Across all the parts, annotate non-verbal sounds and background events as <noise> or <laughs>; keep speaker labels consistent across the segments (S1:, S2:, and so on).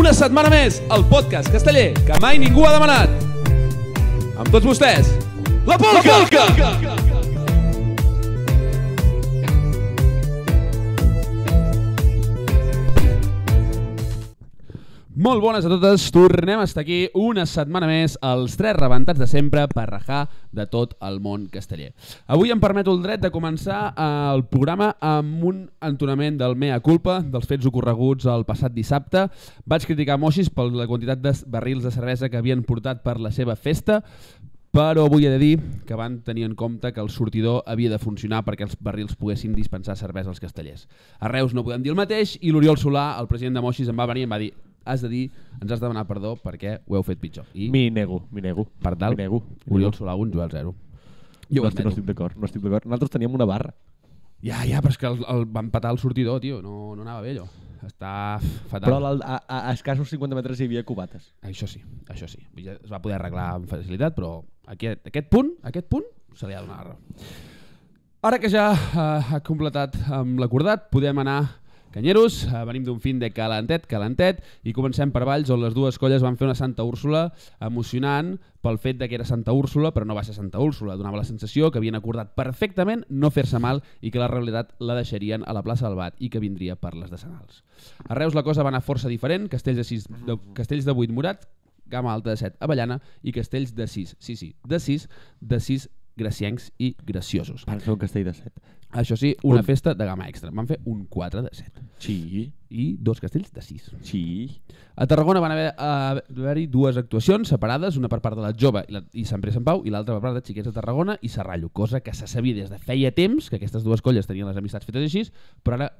S1: Una setmana més, el podcast casteller que mai ningú ha demanat. Amb tots vostès, la Polca! La Polca! Molt bones a totes, tornem a estar aquí una setmana més, els tres rebentats de sempre per rajar de tot el món casteller. Avui em permeto el dret de començar eh, el programa amb un entonament del mea culpa, dels fets ocorreguts el passat dissabte. Vaig criticar Moixis per la quantitat de barrils de cervesa que havien portat per la seva festa, però avui he de dir que van tenir en compte que el sortidor havia de funcionar perquè els barrils poguessin dispensar cervesa als castellers. A Reus no podem dir el mateix i l'Oriol Solà, el president de Moixis, em va venir i em va dir has de dir, ens has de demanar perdó perquè ho heu fet pitjor. I
S2: M'hi nego, m'hi nego.
S1: per dalt,
S2: M'hi nego.
S1: Oriol Solà 1, Joel 0. Jo
S2: no,
S1: ho
S2: estic,
S1: admeto.
S2: no estic d'acord, no estic d'acord. Nosaltres teníem una barra.
S1: Ja, ja, però és que el, el va empatar el sortidor, tio. No, no anava bé, allò. Està fatal.
S2: Però a, a, a escassos 50 metres hi havia cubates.
S1: Això sí, això sí. Ja es va poder arreglar amb facilitat, però aquest, aquest punt, aquest punt, se li ha de donar la raó. Ara que ja eh, ha completat amb l'acordat, podem anar Canyeros, eh, venim d'un fin de calentet, calentet, i comencem per Valls, on les dues colles van fer una Santa Úrsula emocionant pel fet de que era Santa Úrsula, però no va ser Santa Úrsula. Donava la sensació que havien acordat perfectament no fer-se mal i que la realitat la deixarien a la plaça del Bat i que vindria per les decenals. A Reus la cosa va anar força diferent, castells de, sis, de, castells de 8 morat, gamma alta de 7 avellana i castells de 6, sí, sí, de 6, de 6 graciencs i graciosos.
S2: Van fer un castell de set.
S1: Això sí, una
S2: Un-
S1: festa de gamma extra. Van fer un 4 de 7
S2: Sí,
S1: i dos castells de 6.
S2: sí.
S1: A Tarragona van haver- a- haver-hi dues actuacions separades, una per part de la Jove i, la, i Sant Pere Sant Pau i l'altra per part de Xiquets de Tarragona i Serrallo, cosa que se sabia des de feia temps que aquestes dues colles tenien les amistats fetes així, però ara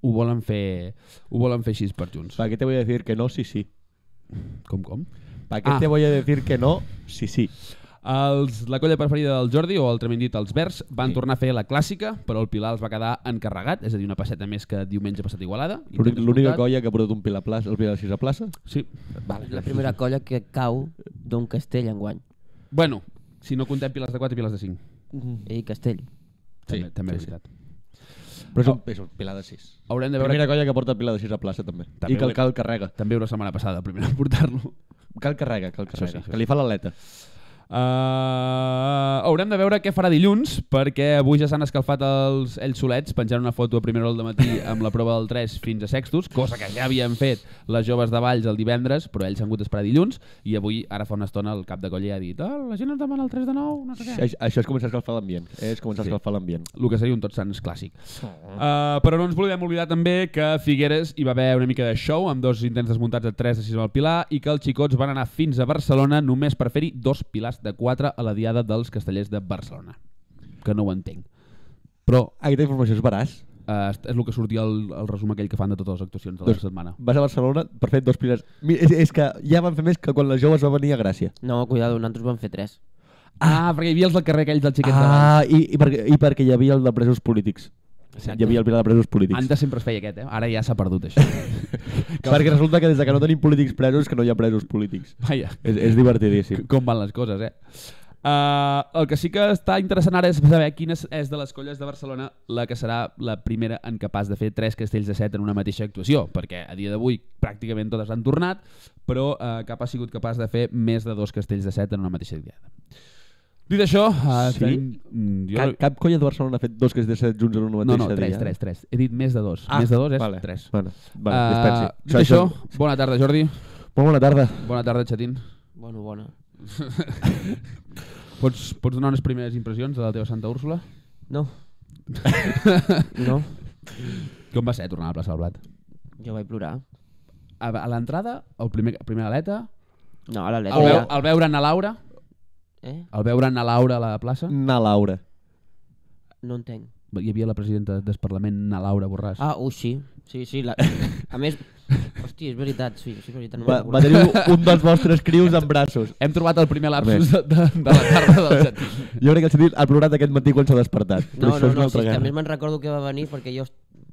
S1: ho volen fer, ho volen fer així per junts.
S2: ¿Para qué te voy a decir que no? Sí, sí.
S1: Com, com?
S2: ¿Para qué
S1: Ah.
S2: te voy a decir que no? Sí, sí.
S1: Els, la colla preferida del Jordi, o altrament dit els Verds, van
S2: Sí.
S1: sí. tornar a fer la clàssica, però el Pilar els va quedar encarregat, és a dir, una passeta més que diumenge passat a Igualada.
S2: L'únic-
S1: Intent
S2: L'única
S1: descomptat.
S2: colla que ha portat un pila plaça, el pila de sis a plaça.
S1: Sí.
S3: Vale, la primera colla que cau d'un castell enguany.
S1: Bueno, si no contem Pilars de 4 i Pilars de 5.
S3: He dit castell.
S1: També,
S2: Sí,
S1: també
S2: sí,
S1: és veritat.
S2: Però és un, és un pila de sis.
S1: Haurem de
S2: La
S1: veure...
S2: primera colla que porta pila de sis a plaça, també.
S1: També
S2: I que
S1: ho-
S2: el cal carrega.
S1: També una setmana passada, primer a portar-lo.
S2: Cal carrega, cal
S1: Això sí,
S2: carrega.
S1: això
S2: Que li fa l'aleta.
S1: Uh, haurem de veure què farà dilluns, perquè avui ja s'han escalfat els, ells solets penjant una foto a primera hora del matí amb la prova del 3 fins a sextos, cosa que ja havien fet les joves de Valls el divendres, però ells han hagut d'esperar dilluns, i avui, ara fa una estona, el cap de colla ja ha dit oh, la gent ens demana el 3 de 9, no sé què.
S2: Això, això és començar a escalfar l'ambient. És començar a
S1: Sí.
S2: escalfar l'ambient.
S1: el que seria un Tots Sants clàssic. Uh, però no ens volem oblidar també que a Figueres hi va haver una mica de show amb dos intents desmuntats de 3 a 6 al Pilar i que els xicots van anar fins a Barcelona només per fer-hi dos pilars de 4 a la diada dels castellers de Barcelona. Que no ho entenc. Però uh,
S2: Aquesta informació és veraç.
S1: és el que sortia el, el resum aquell que fan de totes les actuacions de Tota la
S2: Doncs-
S1: setmana.
S2: Vas a Barcelona per fer dos piles. Mi- És, és que ja van fer més que quan les joves va venir a Gràcia.
S3: No, cuidado, nosaltres vam fer tres.
S1: Ah, perquè hi havia els del carrer aquells del xiquet
S2: Ah, i, i, perquè, i perquè hi havia el de presos polítics. Hi havia el pilar de presos
S1: de
S2: polítics.
S1: Antes sempre es feia aquest, eh? Ara ja s'ha perdut,
S2: <laughs>
S1: això.
S2: Perquè resulta que des de que no tenim polítics presos, que no hi ha presos polítics.
S1: Vaja,
S2: És, és divertidíssim.
S1: com van les coses, eh? Uh, el que sí que està interessant ara és saber quina és- és de les colles de Barcelona la que serà la primera en capaç de fer tres castells de set en una mateixa actuació, perquè a dia d'avui pràcticament totes han tornat, però uh, cap ha sigut capaç de fer més de dos castells de set en una mateixa diada. Dit això, uh,
S2: Sí?
S1: tenim... mm,
S2: Cap, cap colla de Barcelona ha fet dos que es de set junts en una
S1: No,
S2: mateixa
S1: no, tres,
S2: dia.
S1: tres, tres. He dit més de dos. Ah, més de dos és
S2: vale.
S1: tres.
S2: Bueno, vale, dispensi.
S1: Uh, dit això, bona tarda, Jordi.
S2: Molt bona tarda.
S1: Bona tarda, Xatín.
S3: Bueno, bona.
S1: Pots, pots donar unes primeres impressions de la teva Santa Úrsula?
S3: No. no.
S1: Com va ser tornar a la plaça del Blat?
S3: Jo vaig plorar.
S1: a, a l'entrada, el primer, primera aleta,
S3: No, a l'Aleta
S1: el, veu,
S3: ja.
S1: el veure na Laura,
S3: Eh?
S1: el veure na Laura a la plaça,
S2: Na Laura.
S3: No entenc.
S1: hi havia la presidenta del Parlament, na Laura Borràs.
S3: Ah, oh, sí. Sí, sí. La... <laughs> A més... Hòstia, és veritat, sí, sí, és veritat. No
S2: Va,
S3: me'n
S2: va
S3: recordo.
S2: tenir un- un dels vostres crius en braços.
S1: Hem trobat el primer lapsus de, de, de la tarda del Jatín.
S2: Jo crec que el sentit ha plorat aquest matí quan s'ha despertat. però
S3: No,
S2: això
S3: no,
S2: és una
S3: no,
S2: altra
S3: sí,
S2: guerra.
S3: també me'n recordo que va venir perquè jo...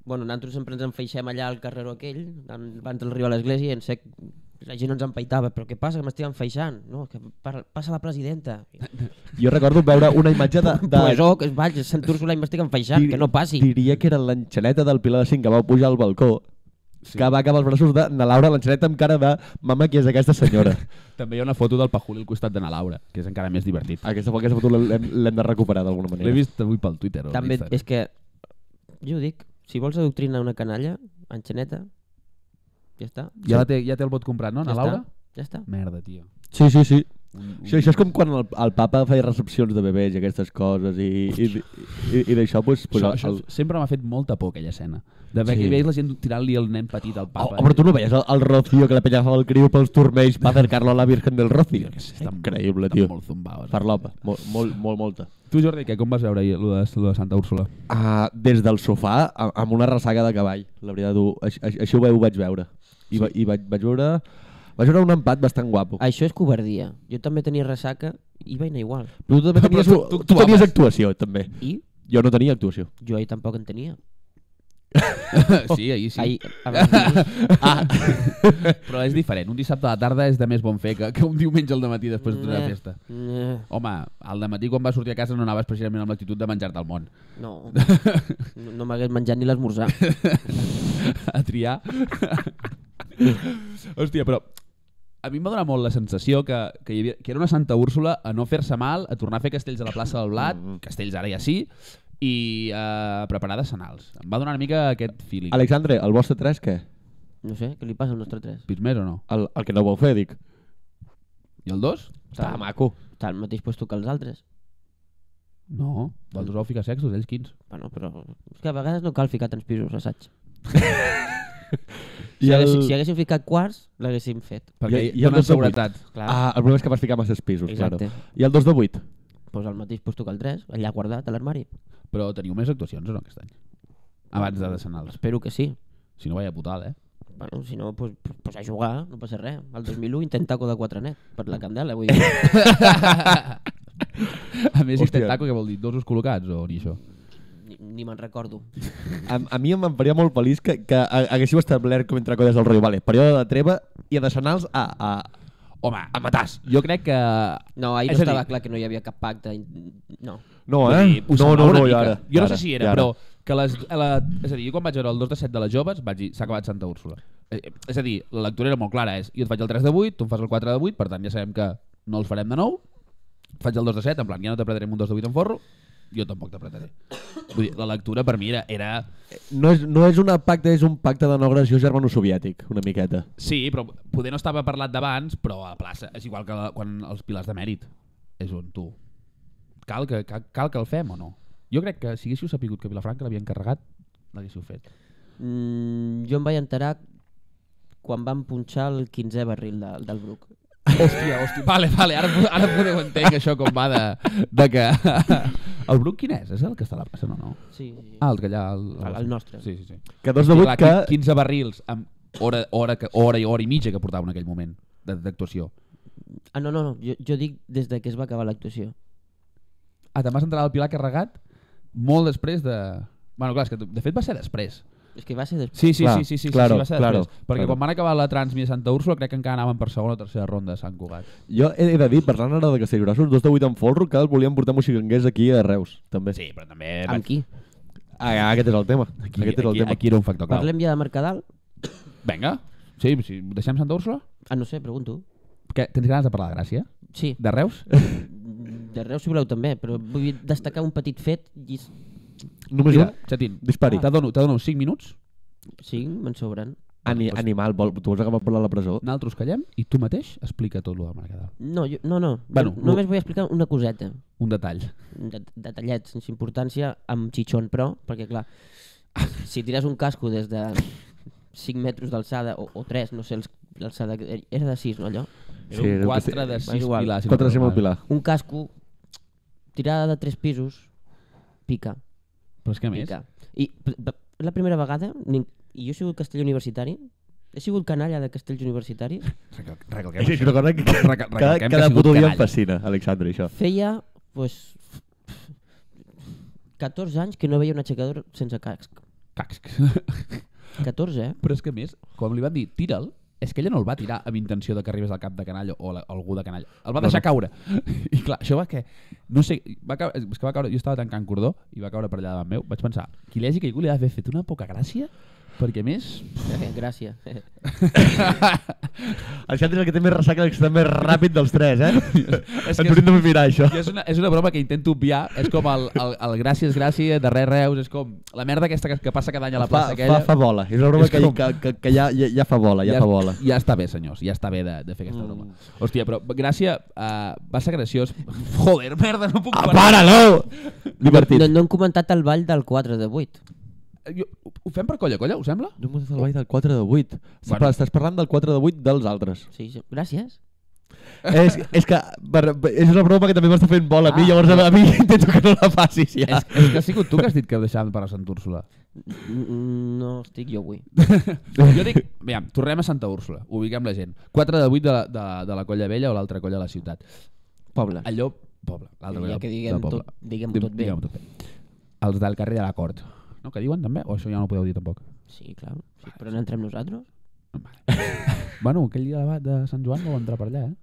S3: Bueno, nosaltres sempre ens enfaixem allà al carreró aquell, an- abans del riu a l'església, i en sec la gent ens empaitava, però què passa, que m'estic enfaixant? No, que parla- passa la presidenta.
S2: Jo recordo veure una imatge de... de...
S3: De... Pues oh, que vaig, Sant Úrsula i m'estic enfaixant,
S2: Dir-
S3: que no passi.
S2: Diria que era l'enxaneta del Pilar de Cinc que va pujar al balcó
S1: Sí.
S2: que va cap als braços de na Laura Lanxaneta amb cara de mama qui és aquesta senyora.
S1: També hi ha una foto del Pajuli al costat de na Laura, que és encara més divertit.
S2: <laughs> aquesta, fo- aquesta foto l'hem l'hem de recuperar d'alguna manera.
S1: L'he vist avui pel Twitter. o
S3: També
S1: Instagram.
S3: és que, jo ho dic, si vols adoctrinar una canalla, en Xaneta, ja està.
S1: Ja, la té, ja té el vot comprat, no, na
S3: ja
S1: Laura?
S3: Està, ja està.
S1: Merda, tio.
S2: Sí, sí, Mm. sí.
S1: Un-
S2: Això, això és com quan el, el papa feia recepcions de bebès i aquestes coses i, i, i, i d'això, doncs... Pues,
S1: Però això, això sempre m'ha fet molta por aquella escena. De veure sí.
S2: Sí.
S1: que veus la gent tirant-li el nen petit al
S2: Oh,
S1: papa. eh?
S2: però tu no veies el, el Rocío que la penya el criu pels turmells <laughs> per acercar-lo a la Virgen del Rocío?
S1: que sí,
S2: És
S1: està
S2: increïble,
S1: Estan
S2: tio.
S1: molt zumbades.
S2: Farlopa, molt, molt, molt, molta.
S1: Tu, Jordi, què, com vas veure ahir, lo de, lo de Santa Úrsula?
S2: Uh, des del sofà, a- amb una ressaca de cavall, la veritat, ho, així, així ho, ve- ho vaig veure. I, va, i vaig, vaig veure... Vaig veure un empat bastant guapo.
S3: Això és covardia. Jo també tenia ressaca i vaig anar igual.
S2: <laughs> Però tu també
S1: Però
S2: tenies,
S1: tu-
S2: tu,
S1: tu
S2: tu tenies
S1: actuaves.
S2: actuació, també.
S3: I
S2: Jo no tenia actuació.
S3: jo ahir tampoc en tenia.
S1: sí, ahir sí. <laughs>
S3: Ahir, abans d'ahir,
S1: Ah. <laughs> però és diferent. Un dissabte a la tarda és de més bon fer que, que un diumenge al matí després d'una
S3: Eh.
S1: festa.
S3: eh,
S1: Home, al matí quan vas sortir a casa no anaves precisament amb l'actitud de menjar-te el món. <laughs>
S3: no, no, no m'hagués menjat ni l'esmorzar.
S1: a triar. <laughs> Hòstia, però a mi em va donar molt la sensació que, que, hi havia, que era una Santa Úrsula a no fer-se mal, a tornar a fer castells a la plaça del Blat, castells ara ja sí, i a preparar decenals. Em va donar una mica aquest feeling. Alex...
S2: Alexandre, el vostre 3, què?
S3: No sé, què li passa al nostre 3?
S1: Pis més o no?
S2: El, el que no vau fer, dic.
S1: I el 2?
S2: Estava maco.
S3: Està al mateix puesto que els altres.
S1: No, els dos vau ficar sexos, ells quins.
S3: Bueno, però és que a vegades no cal ficar tants pisos, assaig.
S2: I
S3: Si,
S2: el,
S3: haguéssim, si haguéssim ficat quarts, l'haguéssim fet.
S1: Perquè
S2: I-
S1: hi,
S2: i
S1: hi
S2: el
S1: donen
S2: dos de vuit.
S1: seguretat.
S3: Clar,
S2: ah, el problema és que vas ficar masses pisos, claro.
S3: exacte.
S2: I el 2 de 8?
S3: Pues al mateix puesto que el 3, allà guardat a l'armari.
S1: Però teniu més actuacions o no aquest any? Abans de decenals.
S3: Espero que sí.
S1: Si no, vaya <laughs> putada, eh?
S3: Bueno, si no, pues, pues, pues a jugar, no passa res. El 2001 intenta de 4 net per la candela, vull dir.
S1: <laughs> A més,
S2: Hòstia.
S1: Hòstia. taco, que vol dir? Dosos col·locats o ni això?
S3: Ni, ni me'n recordo.
S2: A, a mi em faria molt feliç que, que ha- haguéssiu establert com entre codes del rotllo. Vale, període de treva i de senals a, a,
S1: Home, a matàs. Jo crec que...
S3: No, ahir
S1: És
S3: no
S1: a dir-
S3: estava clar que no hi havia cap pacte. No.
S2: No,
S1: Vull
S2: eh?
S1: dir, ho
S2: no,
S1: semblava
S2: no,
S1: una
S2: no, i
S1: mica.
S2: ara.
S1: Jo no
S2: i ara,
S1: sé si
S2: i
S1: era,
S2: ara.
S1: però... Que les, a la, és a dir, jo quan vaig veure el 2 de 7 de les joves vaig dir, s'ha acabat Santa Úrsula. Eh, eh, És a dir, la lectura era molt clara, és jo et faig el 3 de 8, tu em fas el 4 de 8, per tant ja sabem que no els farem de nou, et faig el 2 de 7, en plan, ja no t'apretarem un 2 de 8 en forro, jo tampoc t'apretaré. Vull dir, la lectura per mi era... era
S2: No és, no és un pacte, és un pacte de no agressió germanosoviètic, una miqueta.
S1: sí, però poder no estava parlat d'abans, però a la plaça és igual que la, quan els pilars de mèrit és on tu. Cal que, cal, cal que el fem o no? Jo crec que si haguéssiu sapigut que Vilafranca l'havien carregat, l'haguéssiu fet.
S3: Mm, jo em vaig enterar quan van punxar el 15è barril de, del Bruc.
S1: Hòstia, hòstia. Vale, vale, ara, ara podeu entendre això com va de, de que... <laughs> El Bruc quin és? És el que està a la plaça, no? no?
S3: Sí, sí.
S1: Ah, el que allà... El,
S3: El- el nostre.
S1: Sí, sí, sí.
S2: Que dos de vuit
S1: clar,
S2: que...
S1: 15 barrils amb hora, hora, que, hora i hora i mitja que portava en aquell moment de- d'actuació.
S3: ah no, no, no. Jo, jo dic des de que es va acabar l'actuació.
S1: Ah, te'n vas entrar al Pilar carregat molt després de... Bueno, clar, és que de fet va ser després.
S3: És que va ser després.
S1: Sí, sí,
S2: Clar,
S1: sí, sí, sí,
S2: claro,
S1: sí, va ser
S2: claro,
S1: després. Perquè
S2: claro.
S1: quan van acabar la Transmi de Santa Úrsula crec que encara anaven per segona o tercera ronda de Sant Cugat.
S2: Jo he, he de dir, parlant ara de Castellgrossos, dos de vuit en folro, que el volien portar moxiganguers aquí a Reus, també.
S1: Sí, però també...
S3: Amb qui?
S2: Ah, aquest és el tema.
S1: Aquí,
S2: aquest és el
S1: aquí,
S2: tema.
S1: aquí era un factor clau.
S3: Parlem ja de Mercadal?
S1: Vinga. Sí, sí. deixem Santa Úrsula?
S3: Ah, no sé, pregunto.
S1: Que, tens ganes de parlar de Gràcia?
S3: Sí,
S1: De <laughs> Reus?
S3: de Reus si voleu també, però vull destacar un petit fet i s-
S2: Només
S1: Mira,
S2: un
S1: Xatín,
S2: dispari.
S1: te dono, te dono 5 minuts,
S3: sí, me'n sobren.
S2: Ani, animal, vol, tu vols acabar parlant a la presó?
S1: nosaltres callem i tu mateix explica tot el del Mercadal.
S3: No, jo, no, no.
S1: Bueno,
S3: Jo només vull explicar una coseta.
S1: Un detall.
S3: de, detallet, sense importància, amb xitxon però, perquè clar, <laughs> si tires un casco des de 5 metres d'alçada, o, o 3, no sé els- l'alçada, que- era de 6, no allò?
S1: Era
S2: Sí,
S1: sí, un
S2: era un
S1: 4 de
S3: va
S1: 6
S3: igual.
S1: pilars.
S2: Contra Simó Pilar.
S3: Un casco, tirada de 3 pisos, pica,
S1: Però és que a més...
S3: pica. I p- p- la primera vegada, nin- i jo he sigut castell universitari, he sigut canalla de castells universitaris,
S1: Recal- Recalquem
S2: És una cosa que
S1: Reca-
S2: cada,
S1: recalquem que
S2: cada,
S1: ha
S2: cada
S1: sigut
S2: puto dia em
S1: canalla.
S2: fascina, Alexandre, això.
S3: feia, pues, 14 anys que no veia un aixecador sense casc.
S1: Cacs. <laughs>
S3: 14, eh?
S1: Però és que a més, quan li van dir tira'l, és que ella no el va tirar amb intenció de que arribés al cap de canalla o a la, a algú de canalla. El va
S2: No,
S1: deixar
S2: no.
S1: caure. <laughs> I clar, això va que... No sé, va caure, és que va caure, jo estava tancant cordó i va caure per allà davant meu. Vaig pensar, qui li hagi caigut li ha d'haver fet una poca gràcia Perquè més...
S3: <laughs>
S1: <laughs>
S3: Eh, Gràcies.
S2: El Xandri és el que té més ressaca, el que està <laughs> més ràpid dels tres, <laughs> eh?
S1: És
S2: Ens
S1: que és-
S2: hauríem de mirar, això.
S1: I és una, és una broma que intento obviar, és com el, el, el gràcies, gràcies, de res, reus, és com la merda aquesta que, que passa cada any a la plaça
S2: fa,
S1: aquella.
S2: fa, fa bola. És una broma
S1: És
S2: que,
S1: com-
S2: que, que, que ja, ja, ja fa bola, ja, ja fa bola.
S1: Ja està bé, senyors, ja està bé de, de fer aquesta mm. broma. Hòstia, però gràcia, uh, va ser graciós. Joder, merda, no puc
S2: Ah, para-lo! Divertit.
S3: No, no hem comentat el ball del 4 de 8.
S1: Jo, ho fem per colla, colla, us sembla?
S2: No m'ho el ball del 4 de 8.
S1: Bueno.
S2: Bueno. Estàs parlant del 4 de 8 dels
S3: <laughs>
S2: altres.
S3: Sí, sí. Gràcies.
S2: és, és que per, per- és una broma que també m'està fent bola a mi,
S3: Ah.
S2: llavors a mi <laughs> intento que no la facis ja.
S1: És, és que ha sigut tu que has dit que ho deixàvem per a Sant Úrsula.
S3: Mm, No estic jo avui.
S1: jo dic, aviam, tornem a Santa Úrsula, ubiquem la gent. 4 de 8 de, la- de, de la colla vella o l'altra colla de la ciutat.
S3: Poble.
S1: Allò, poble. l'altra
S3: Ja
S1: colla
S3: que
S1: del
S3: diguem
S1: poble.
S3: tot- diguem-ho
S1: Dim-
S3: tot bé.
S1: Diguem-ho tot bé. Els del carrer de la Cort. No, que diuen també? O això ja no ho podeu dir tampoc.
S3: Sí, clar. Sí, però no entrem nosaltres.
S1: Bueno, aquell dia de, de Sant Joan vau entrar per allà, eh?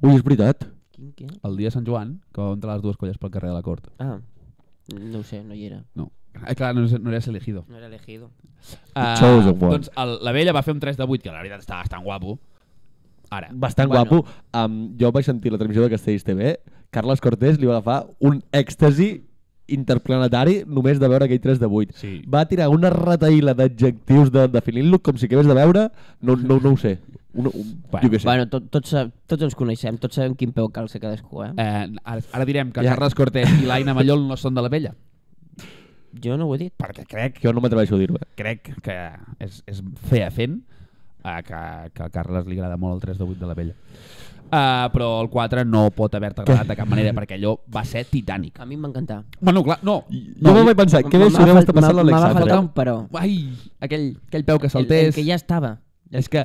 S2: Ui, és veritat.
S3: Quin, què?
S1: El dia de Sant Joan, que vau entrar les dues colles pel carrer de la Cort.
S3: Ah, no ho sé, no hi era.
S1: No. Ah, clar, no, no eres elegido.
S3: No era elegido.
S1: Ah,
S2: chosen one.
S1: doncs el, la vella va fer un 3 de 8, que la veritat està bastant guapo. Ara.
S2: Bastant
S3: Bueno.
S2: guapo. Um, jo vaig sentir la transmissió de Castells TV. Carles Cortés li va agafar un èxtasi interplanetari només de veure aquell 3 de 8.
S1: Sí.
S2: Va tirar una retaïla d'adjectius de, definint-lo com si acabés de veure, no, no, no ho sé. Un, un,
S1: Bueno,
S2: bueno, jo què
S3: Sí.
S2: sé.
S3: Bueno, tot, tots, sa- tots ens coneixem, tots sabem quin peu calça cadascú, eh? eh?
S1: Eh, ara, ara direm que
S2: Ja.
S1: ja. Carles Cortés i l'Aina Mallol no són de la vella.
S3: Jo no ho he dit.
S1: Perquè crec
S2: Jo no m'atreveixo a dir-ho. Eh?
S1: crec que és, és feafent eh, que, que a Carles li agrada molt el 3 de 8 de la vella. Uh, però el 4 no pot haver-te agradat de cap manera perquè allò va ser titànic.
S3: A mi m'encanta.
S1: Bueno, clar, no.
S2: Jo no, vaig pensar, què Doncs bé s'ho deu estar passant
S3: M'ha
S2: l'Alexandre.
S3: faltat un però.
S1: Ai, aquell, aquell peu que
S3: El, el
S1: saltés.
S3: que ja estava.
S1: És que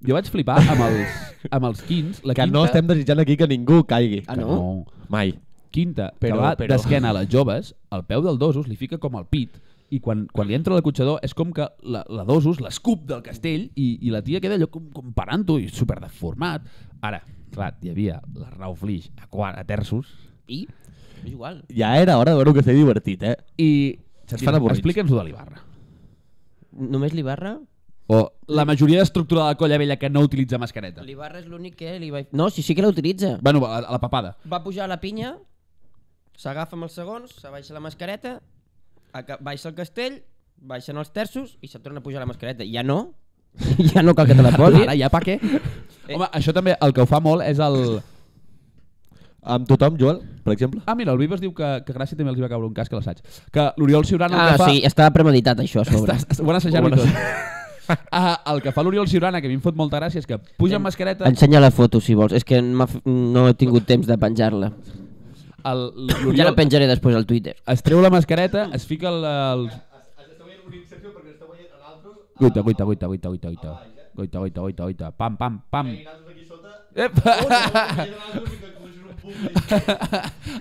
S1: jo vaig flipar amb els, amb els quins. La
S2: Que
S1: quinta,
S2: no estem desitjant aquí que ningú caigui.
S3: Ah,
S1: Que
S3: no?
S1: no.
S2: Mai.
S1: Quinta, però,
S2: Però-
S1: que va
S2: però-
S1: però... d'esquena a les joves, el peu del dosos li fica com al pit i quan, quan li entra l'acotxador és com que la, la dosos l'escup del castell i, i la tia queda allò com, com parant-ho i super deformat. Ara, clar, hi havia l'Arnau Flix a, quart, a terços
S3: I? És igual.
S2: Ja era hora de veure que s'ha divertit, eh?
S1: i
S2: Es fan avorrits.
S1: explica'ns-ho de l'Ibarra.
S3: Només l'Ibarra?
S1: O la majoria d'estructura de la colla vella que no utilitza mascareta.
S3: L'Ibarra és l'únic que li va... No, sí, sí que l'utilitza.
S1: Bueno, a, a la papada.
S3: Va pujar a la pinya, s'agafa amb els segons, s'abaixa la mascareta, aca- baixa el castell, baixen els terços i se torna a pujar la mascareta. Ja no, <laughs> ja no cal que te la posi.
S1: Ara ja pa què? Eh. Home, això també el que ho fa molt és el...
S2: Amb tothom, Joel, per exemple.
S1: Ah, mira, el Vives diu que, que Gràcia també els hi va caure un casc a l'assaig. Que l'Oriol Ciurana el
S3: Ah,
S1: que fa...
S3: sí, estava premeditat això a sobre.
S1: Estàs, ho van assajar-ho
S2: Ho van
S1: tot. <laughs> Ah, el que fa l'Oriol Ciurana, que a mi em fot molta gràcia, és que puja amb mascareta,
S3: Ensenya la foto, si vols. És que m'ha f- no he tingut temps de penjar-la.
S1: el-
S3: Ja la
S1: l'Oriol
S3: penjaré després al Twitter.
S1: es treu la mascareta, es fica el... el... Guita, guita, guita, guita, guita, guita. Guita, guita, guita, guita. Pam, pam, pam. Ep. <laughs>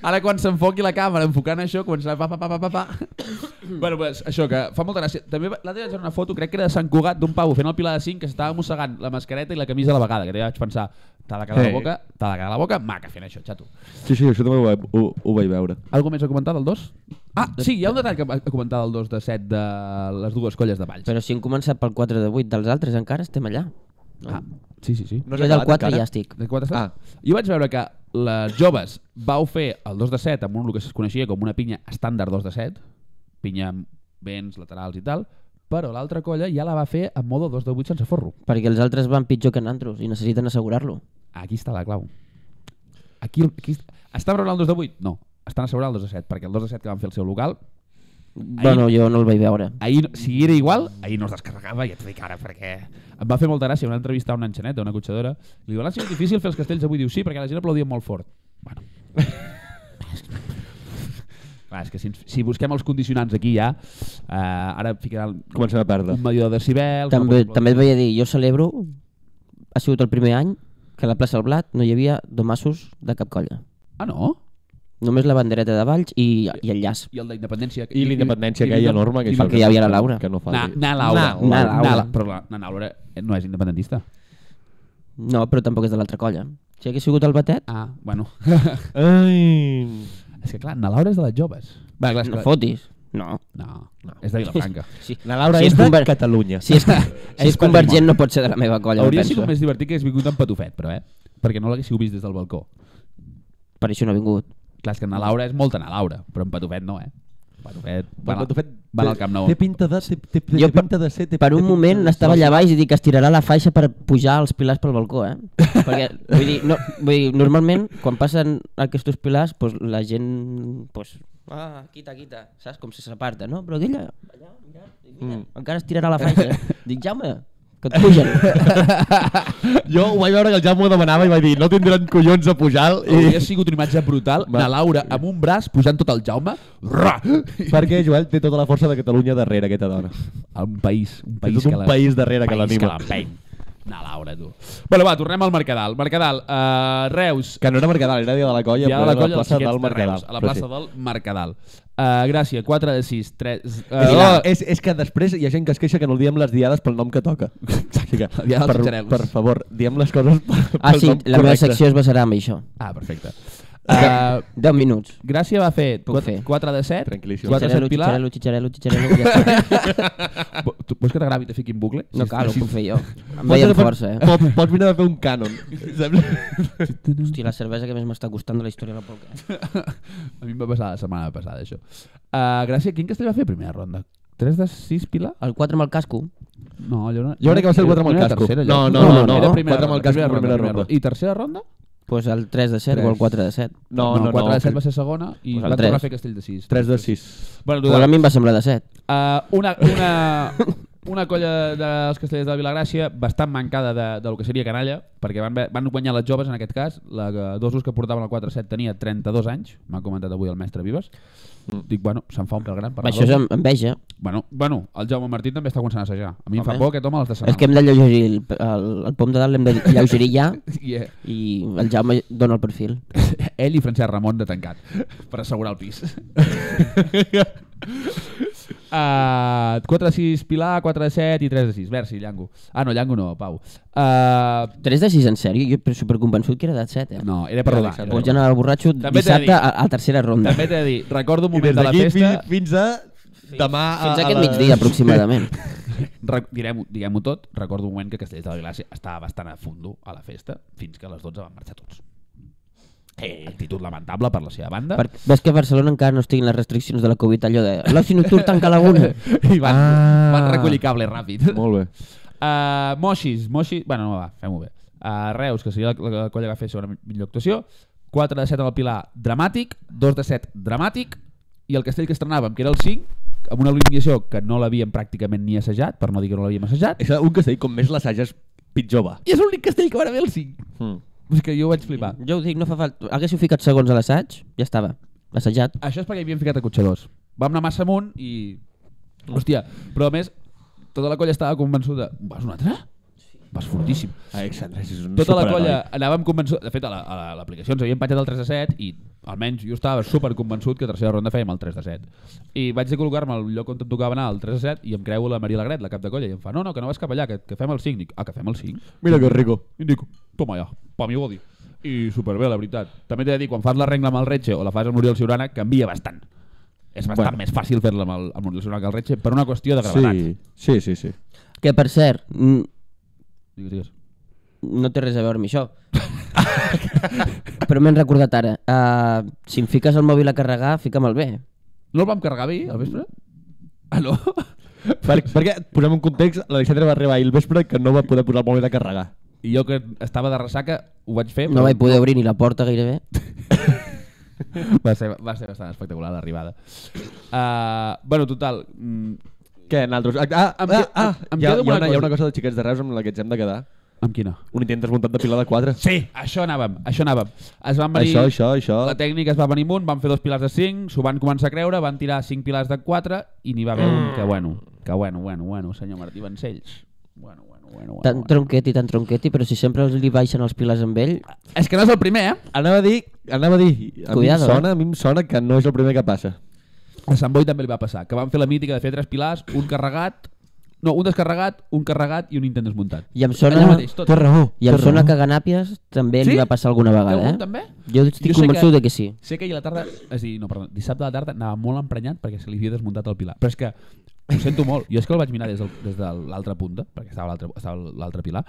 S1: Ara quan s'enfoqui la càmera, enfocant això, començarà pa, pa, pa, pa, pa, pa. bueno, pues, això, que fa molta gràcia. També va- l'altre dia vaig veure una foto, crec que era de Sant Cugat, d'un pavo fent el Pilar de 5 que s'estava mossegant la mascareta i la camisa a la vegada, que ja vaig pensar, t'ha de quedar
S2: Sí.
S1: la boca, t'ha de quedar la boca, maca fent això, xato.
S2: Sí, sí, això també ho, vaig- ho, ho vaig veure.
S1: Algo més a comentar del 2? Ah, sí, hi ha un detall que a comentar del 2 de 7 de les dues colles de Valls.
S3: Però si hem començat pel 4 de 8 dels altres, encara estem allà. No?
S1: Ah, sí, sí, sí.
S2: No
S3: jo del 4 ja estic.
S1: De 4
S2: Ah.
S1: ah. Jo vaig veure que les joves vau fer el 2 de 7 amb un el que es coneixia com una pinya estàndard 2 de 7, pinya amb vents, laterals i tal, però l'altra colla ja la va fer en modo 2 de 8 sense forro.
S3: Perquè els altres van pitjor que nantros i necessiten assegurar-lo.
S1: Aquí està la clau. Aquí, aquí... Estan assegurant el 2 de 8? No, estan assegurant el 2 de 7, perquè el 2 de 7 que van fer el seu local,
S3: Bueno, jo no el vaig veure.
S1: ahir, si era igual, ahir no es descarregava, ja t'ho dic ara, perquè... Em va fer molta gràcia, van entrevistar una enxaneta, una cotxadora, li diuen, ha sigut difícil fer els castells avui? Diu, sí, perquè la gent aplaudia molt fort. Bueno. Clar, és que si, ens- si busquem els condicionants aquí ja, eh, ara ficaran
S2: Comencem a perdre.
S1: un milió de decibels... no
S3: També,
S1: pots
S3: també et vaig dir, jo celebro, ha sigut el primer any que a la plaça del Blat no hi havia domassos de cap colla.
S1: aplaudir. Ah, no?
S3: Només la bandereta de Valls i, i el llaç.
S1: I el d'independència...
S2: I l'independència aquella enorme que,
S1: i-
S2: això
S3: que hi havia la Laura.
S2: Que no fa
S1: Na, na Laura.
S3: Na- Na Laura.
S1: Però la, na Laura eh, no és independentista.
S3: No, però tampoc és de l'altra colla. Si hagués sigut el batet,
S1: Ah, <laughs> bueno.
S2: Ai...
S1: és que clar, na Laura és de les joves. Va, clar, és
S3: no
S1: que-
S3: fotis.
S4: No.
S1: No, no. és de Vilafranca.
S3: <laughs> Sí.
S2: La Laura
S3: Si
S2: és
S3: és
S2: de
S3: conver-
S2: Catalunya.
S1: <laughs>
S3: Si és, si és convergent no pot ser de la meva colla,
S1: Hauria
S3: em
S1: sigut
S3: penso. eh.
S1: més divertit que hagués vingut en patufet, però, eh? Perquè no l'haguéssiu vist des del balcó.
S3: Per això no ha vingut.
S1: Clar, és que na Laura és molt na Laura, però en patufet no, eh? Patufet,
S2: Però
S1: van,
S2: quan t'ho fet-
S1: van al Camp Nou.
S2: Té pinta de, té, té, té
S3: Jo per-
S2: pinta de ser... Té,
S3: Per
S2: té
S3: un
S2: pinta
S3: moment
S2: de-
S3: estava allà baix i dic que estirarà la faixa per pujar els pilars pel balcó, eh? Perquè, vull dir, no, vull dir normalment, quan passen aquests pilars, doncs, la gent... Doncs, ah, quita, quita, saps? Com si s'aparta, no? Però aquella, allà, mira, mira, mm. encara estirarà la faixa. dic, Jaume, que et pugen.
S2: Jo ho vaig veure que el Jaume ho demanava i vaig dir no tindran collons a pujar
S1: <laughs> Hauria
S2: i...
S1: sigut una imatge brutal,
S2: Va.
S1: na Laura amb un braç posant tot el Jaume, ra!
S2: Perquè Joel té tota la força de Catalunya darrere, aquesta dona.
S1: un país, un país
S2: tot un
S1: que la...
S2: país darrere que
S1: país
S2: l'anima.
S1: Que l'empeny. Na Laura, tu. Bueno, va, tornem al Mercadal. Mercadal, uh, Reus,
S2: Que no era Mercadal, era dia de la colla,
S1: ja
S2: però
S1: a
S2: era
S1: la colla
S2: la plaça
S1: dels xiquets
S2: del
S1: de
S2: Mercadal.
S1: Reus, a la
S2: Però
S1: plaça del Mercadal. Uh, Gràcia, 4 de 6, 3... Uh,
S2: És,
S1: oh,
S2: que, és, és que després hi ha gent que es queixa que no diem les diades pel nom que toca.
S1: <laughs>
S2: Així que,
S1: La diada dels
S2: per,
S1: xareus.
S2: per favor, diem les coses pel,
S3: Ah,
S2: pel
S3: sí,
S2: nom
S3: la meva
S2: correcte.
S3: secció es basarà en això.
S1: Ah, perfecte. Uh,
S3: 10 minuts.
S1: Gràcia va fer
S3: Puc
S1: 4,
S3: fer.
S1: 4 de 7,
S2: Tranquil·líssim.
S1: 4 de 7
S3: Xitxarelo,
S1: Pilar...
S3: xitxarelo, xitxarelo, xitxarelo, ja està.
S1: Vo- Tu vols que t'agravi i te fiqui en bucle?
S3: No cal, ho
S1: si,
S3: puc fer jo. Em
S2: Pots
S3: veiem
S2: anar a fer-
S3: força, eh?
S2: Pots, pots vindre a fer un
S1: <laughs>
S2: cànon. Saps?
S3: Hòstia, la cervesa que més m'està costant de la història no puc. Eh?
S1: A mi em va passar la setmana passada, això. Uh, Gràcia, quin castell va fer primera ronda? 3 de 6, Pilar?
S3: El 4 amb el casco.
S1: No, allò no...
S2: Jo crec que va ser el
S1: era-
S2: quatre amb el
S1: era
S2: casco.
S1: Tercera,
S2: No,
S1: allò.
S2: no,
S3: no, no,
S1: era primera
S2: quatre amb el
S1: ronda,
S2: casco, primera ronda.
S1: I tercera ronda?
S3: Pues el 3 de 7 o el
S2: Tres.
S3: 4 de 7.
S2: No, no, no.
S1: 4 de 7 va ser segona i
S3: Pues el
S1: va tornar
S3: tres.
S1: a fer castell de 6.
S2: 3 de 6.
S1: Bueno,
S3: Però a
S1: total,
S3: mi em va semblar de 7.
S1: uh, una, una, una colla dels castellers de Vilagràcia bastant mancada de, del que seria canalla, perquè van, ve- van guanyar les joves en aquest cas, la que, dos dos que portaven el 4-7 tenia 32 anys, m'ha comentat avui el mestre Vives, dic, bueno, se'n fa un pèl gran. per anar
S3: Això és
S1: dos.
S3: em- enveja.
S1: Bueno, bueno, el Jaume Martí també està començant a assajar. A mi em fa
S3: Home.
S1: por aquest home a les de <laughs>
S3: És que hem de llegir el, el, el pom de dalt, l'hem de lleugerir ja
S1: Yeah.
S3: i el Jaume dona el perfil.
S1: <laughs> Ell i Francesc Ramon de tancat per assegurar el
S2: <laughs>
S1: pis. uh, 4 de 6 Pilar, 4 de 7 i 3 de 6. Versi, Llango. Ah, no, Llango no, Pau. Uh,
S3: 3 de 6, en sèrio? Jo però superconvençut que era de 7, eh?
S1: no, era per rodar. era per
S2: doncs
S1: rodar.
S3: Pues ja anava borratxo
S1: També t'he de
S3: dissabte
S1: dir-
S3: a, a tercera ronda.
S1: També t'he de dir, recordo un
S2: I
S1: moment
S2: des
S1: de la
S2: d'aquí fi,
S1: festa...
S2: fins a demà...
S1: Ah,
S3: Fins
S2: a,
S3: aquest
S2: a les-
S3: migdia,
S1: <laughs>
S3: aproximadament.
S1: Re- Diguem-ho diguem tot, recordo un moment que Castells de la Viglàcia estava bastant a fondo a la festa, fins que a les 12 van marxar tots. Eh, actitud lamentable per la seva banda.
S3: Per, ves que a Barcelona encara no estiguin les restriccions de la Covid, allò de l'oci nocturn tanca a la una.
S1: I van, ah.
S2: Ah.
S1: van recollir cable ràpid.
S2: <laughs> Molt bé.
S1: Uh, Moixis, Moixis... Bueno, no, va, fem-ho bé. Uh, Reus, que seria la, la colla que va fer segona millor actuació. 4 de 7 amb el Pilar, dramàtic. 2 de 7, dramàtic. I el castell que estrenàvem, que era el 5, amb una alineació que no l'havíem pràcticament ni assajat, per no dir que no l'havíem assajat.
S2: Això, un castell, com més l'assages, pitjor va.
S1: I és l'únic castell que va haver el 5.
S2: Mm.
S1: És que jo ho vaig flipar.
S3: Jo ho dic, no fa falta. Haguéssiu ficat segons a l'assaig, ja estava. Assajat.
S1: Això és perquè hi havíem ficat a cotxadors. Vam anar massa amunt i... Hòstia, però a més, tota la colla estava convençuda. Vas un altre? Vas fortíssim.
S2: Ah, Alexandre, és un
S1: Tota la
S2: superheroi.
S1: colla anàvem convençuts... De fet, a la- a la- a l'aplicació ens havíem penjat el 3 de 7 i almenys jo estava super convençut que a tercera ronda fèiem el 3 de 7. I vaig de col·locar-me al lloc on em tocava anar el 3 de 7 i em creu la Maria Lagret, la cap de colla, i em fa no, no, que no vas cap allà, que, que fem el 5. Dic, ah, que fem el 5?
S2: Mira que rico.
S1: I dic, toma ja, pa mi body. I superbé, la veritat. També t'he de dir, quan fas la regla amb el Retxe o la fas amb l'Oriol Ciurana, canvia bastant. És bastant bueno. més fàcil fer-la amb el- amb l'Oriol Ciurana que el Retxe per una qüestió de gravetat.
S2: Sí, sí, sí. sí.
S3: Que, per cert, mm,
S1: Digues, digues.
S3: No té res a veure amb això. Però m'he recordat ara. Uh, si em fiques el mòbil a carregar, fica'm el bé.
S1: No el vam carregar ahir, al vespre? Ah, no?
S2: Per, perquè, posem un context, l'Alexandre va arribar ahir al vespre que no va poder posar el mòbil a carregar.
S1: I jo que estava de ressaca, ho vaig fer,
S3: No vaig poder obrir ni la porta gairebé.
S1: <laughs> va, ser, va ser bastant espectacular l'arribada. Uh, bueno, total, mm,
S2: Què, nosaltres? Ah, ah,
S1: Em que-
S2: ah, ah
S1: em
S2: hi, ha,
S1: quedo amb
S2: hi, ha
S1: una
S2: una, hi ha una
S1: cosa.
S2: cosa de xiquets de Reus amb la que ens hem de quedar.
S1: amb quina?
S2: Un intent desmuntat de pilar de 4.
S1: Sí, això anàvem, això anàvem. Es van venir,
S2: Això, això, això.
S1: La tècnica es va venir amunt, van fer dos pilars de 5, s'ho van començar a creure, van tirar 5 pilars de 4 i n'hi va haver un que bueno, que bueno, bueno, bueno, senyor Martí Vancells. Bueno, bueno, bueno, bueno.
S3: Tan
S1: bueno.
S3: tronqueti, tan tronqueti, però si sempre li baixen els pilars amb ell...
S1: És que no és el primer, eh?
S2: Anava a dir, anava a dir, a
S3: Cuidado,
S2: mi em sona, a mi em sona que no és el primer que passa.
S1: A Sant Boi també li va passar, que van fer la mítica de fer tres pilars, un carregat, No, un descarregat, un carregat i un intent desmuntat.
S3: I em sona...
S1: Allà mateix, tot.
S2: Té raó.
S3: I em
S2: té
S3: sona
S2: raó.
S3: que a Ganàpies també
S1: Sí?
S3: li va passar alguna
S1: Té
S3: vegada,
S1: algun
S3: eh?
S1: també?
S3: Jo estic
S1: Jo sé
S3: convençut
S1: que-
S3: de que sí.
S1: Sé que ahir a la tarda, és a dir, no, perdó, dissabte a la tarda anava molt emprenyat perquè se li havia desmuntat el pilar. Però és que ho sento molt. Jo és que el vaig mirar des, del, des de l'altra punta, perquè estava a l'altre- estava a l'altre pilar.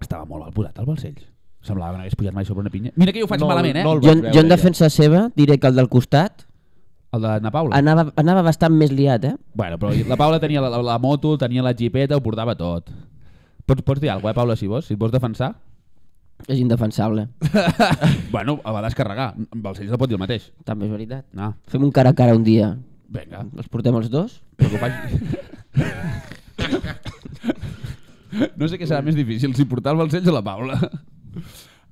S1: Estava molt mal posat el balcells. Semblava que no hagués pujat mai sobre una pinya. Mira que jo ho faig
S2: No,
S1: malament, eh?
S2: no el
S3: Jo,
S2: vaig
S3: en- jo en
S2: veure, ja.
S3: defensa seva diré que el del costat
S1: El de na Paula.
S3: anava, anava bastant més liat, eh?
S1: Bueno, però la Paula tenia la, la, la moto, tenia la xipeta, ho portava tot. Pots, pots dir alguna cosa, eh, Paula, si vols? Si et vols defensar?
S2: <laughs>
S3: És indefensable,
S1: bueno, el va descarregar. Balcells no pot dir el mateix.
S3: també és veritat.
S1: No,
S3: Fem un cara a cara un dia.
S1: vinga.
S3: Els portem els dos?
S1: Però que ho faci... <laughs> no sé què serà més difícil, si portar el balcells o la Paula.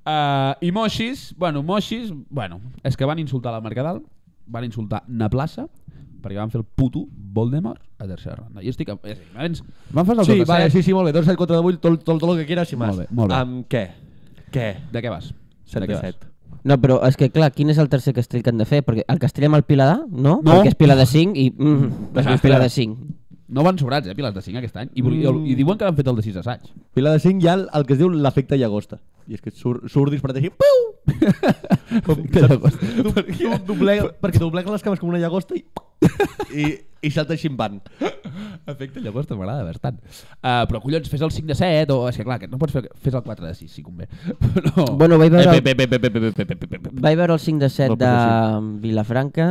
S1: Uh, I Moixis, bueno, Moixis, bueno, és que van insultar la Mercadal, van insultar na plaça, perquè van fer el puto Voldemort a tercera ronda. Jo estic... eh, A... és a dir, abans- Van fer el
S2: Sí,
S1: tot a
S2: vale,
S1: set.
S2: sí, sí, molt bé. 2, 7, 4, 8, tot, tot, tot el que quieras i
S1: Molt
S2: más.
S1: bé, molt bé.
S2: Amb què? Què?
S1: De què vas?
S2: 7
S1: de
S2: de
S1: què vas?
S2: 7.
S3: No, però és que clar, quin és el tercer castell que han de fer? Perquè el castell amb el pilar d'A, no?
S1: No.
S3: Perquè és pilar de 5 i... Mm, és
S1: Desastre.
S3: pilar de 5.
S1: No van sobrats, eh, pilars de 5 aquest any. I, mm. i, i diuen que han fet el de 6 assaig.
S2: Pilar de 5 hi ha el, el que es diu l'efecte llagosta. I és que surt, surt disparat així... Piu! <laughs> com, saps? Du, du, doblega, perquè doblega les cames com una llagosta i... I, i salta així en van.
S1: Efecte llagosta m'agrada bastant. Uh, però collons, fes el 5 de 7 o... És que clar, que no pots fer... Fes el 4 de 6, si convé. <laughs> Però...
S3: Bueno, vaig veure,
S2: Ep, ep, ep, ep, ep, ep, ep, ep, ep, ep.
S3: vaig veure el 5 de 7
S2: No,
S3: de
S2: però
S3: Vilafranca.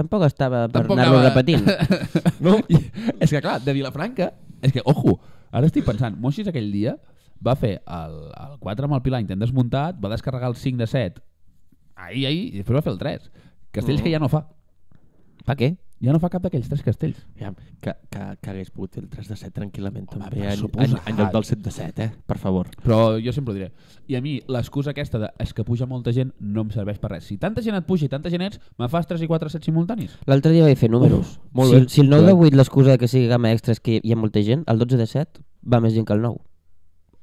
S3: Tampoc estava per
S1: Tampoc
S3: anar-lo
S1: anava-
S3: repetint.
S2: <laughs>
S1: <laughs> No? I, és que clar, de Vilafranca... És que, ojo, ara estic pensant, Moixis aquell dia va fer el, el 4 amb el Pilar, intent desmuntat, va descarregar el 5 de 7 ahir, ahir, i després va fer el 3. Castells que ja no fa.
S3: Per què?
S1: Ja no fa cap d'aquells tres castells.
S2: Aviam, que, que, que hagués pogut fer el 3 de 7 tranquil·lament
S1: Home,
S2: també,
S1: per
S2: en, en,
S1: suposat.
S2: en, lloc del 7 de 7, eh? Per favor.
S1: Però jo sempre ho diré. I a mi l'excusa aquesta de és que puja molta gent no em serveix per res. Si tanta gent et puja i tanta gent ets, me fas 3 i 4 sets simultanis.
S3: L'altre dia vaig fer números.
S2: Uf, Oh, molt
S3: si,
S2: bé.
S3: si el 9 de
S2: Clar.
S3: 8 l'excusa de que sigui gamma extra és que hi ha molta gent, el 12 de 7 va més gent que el 9.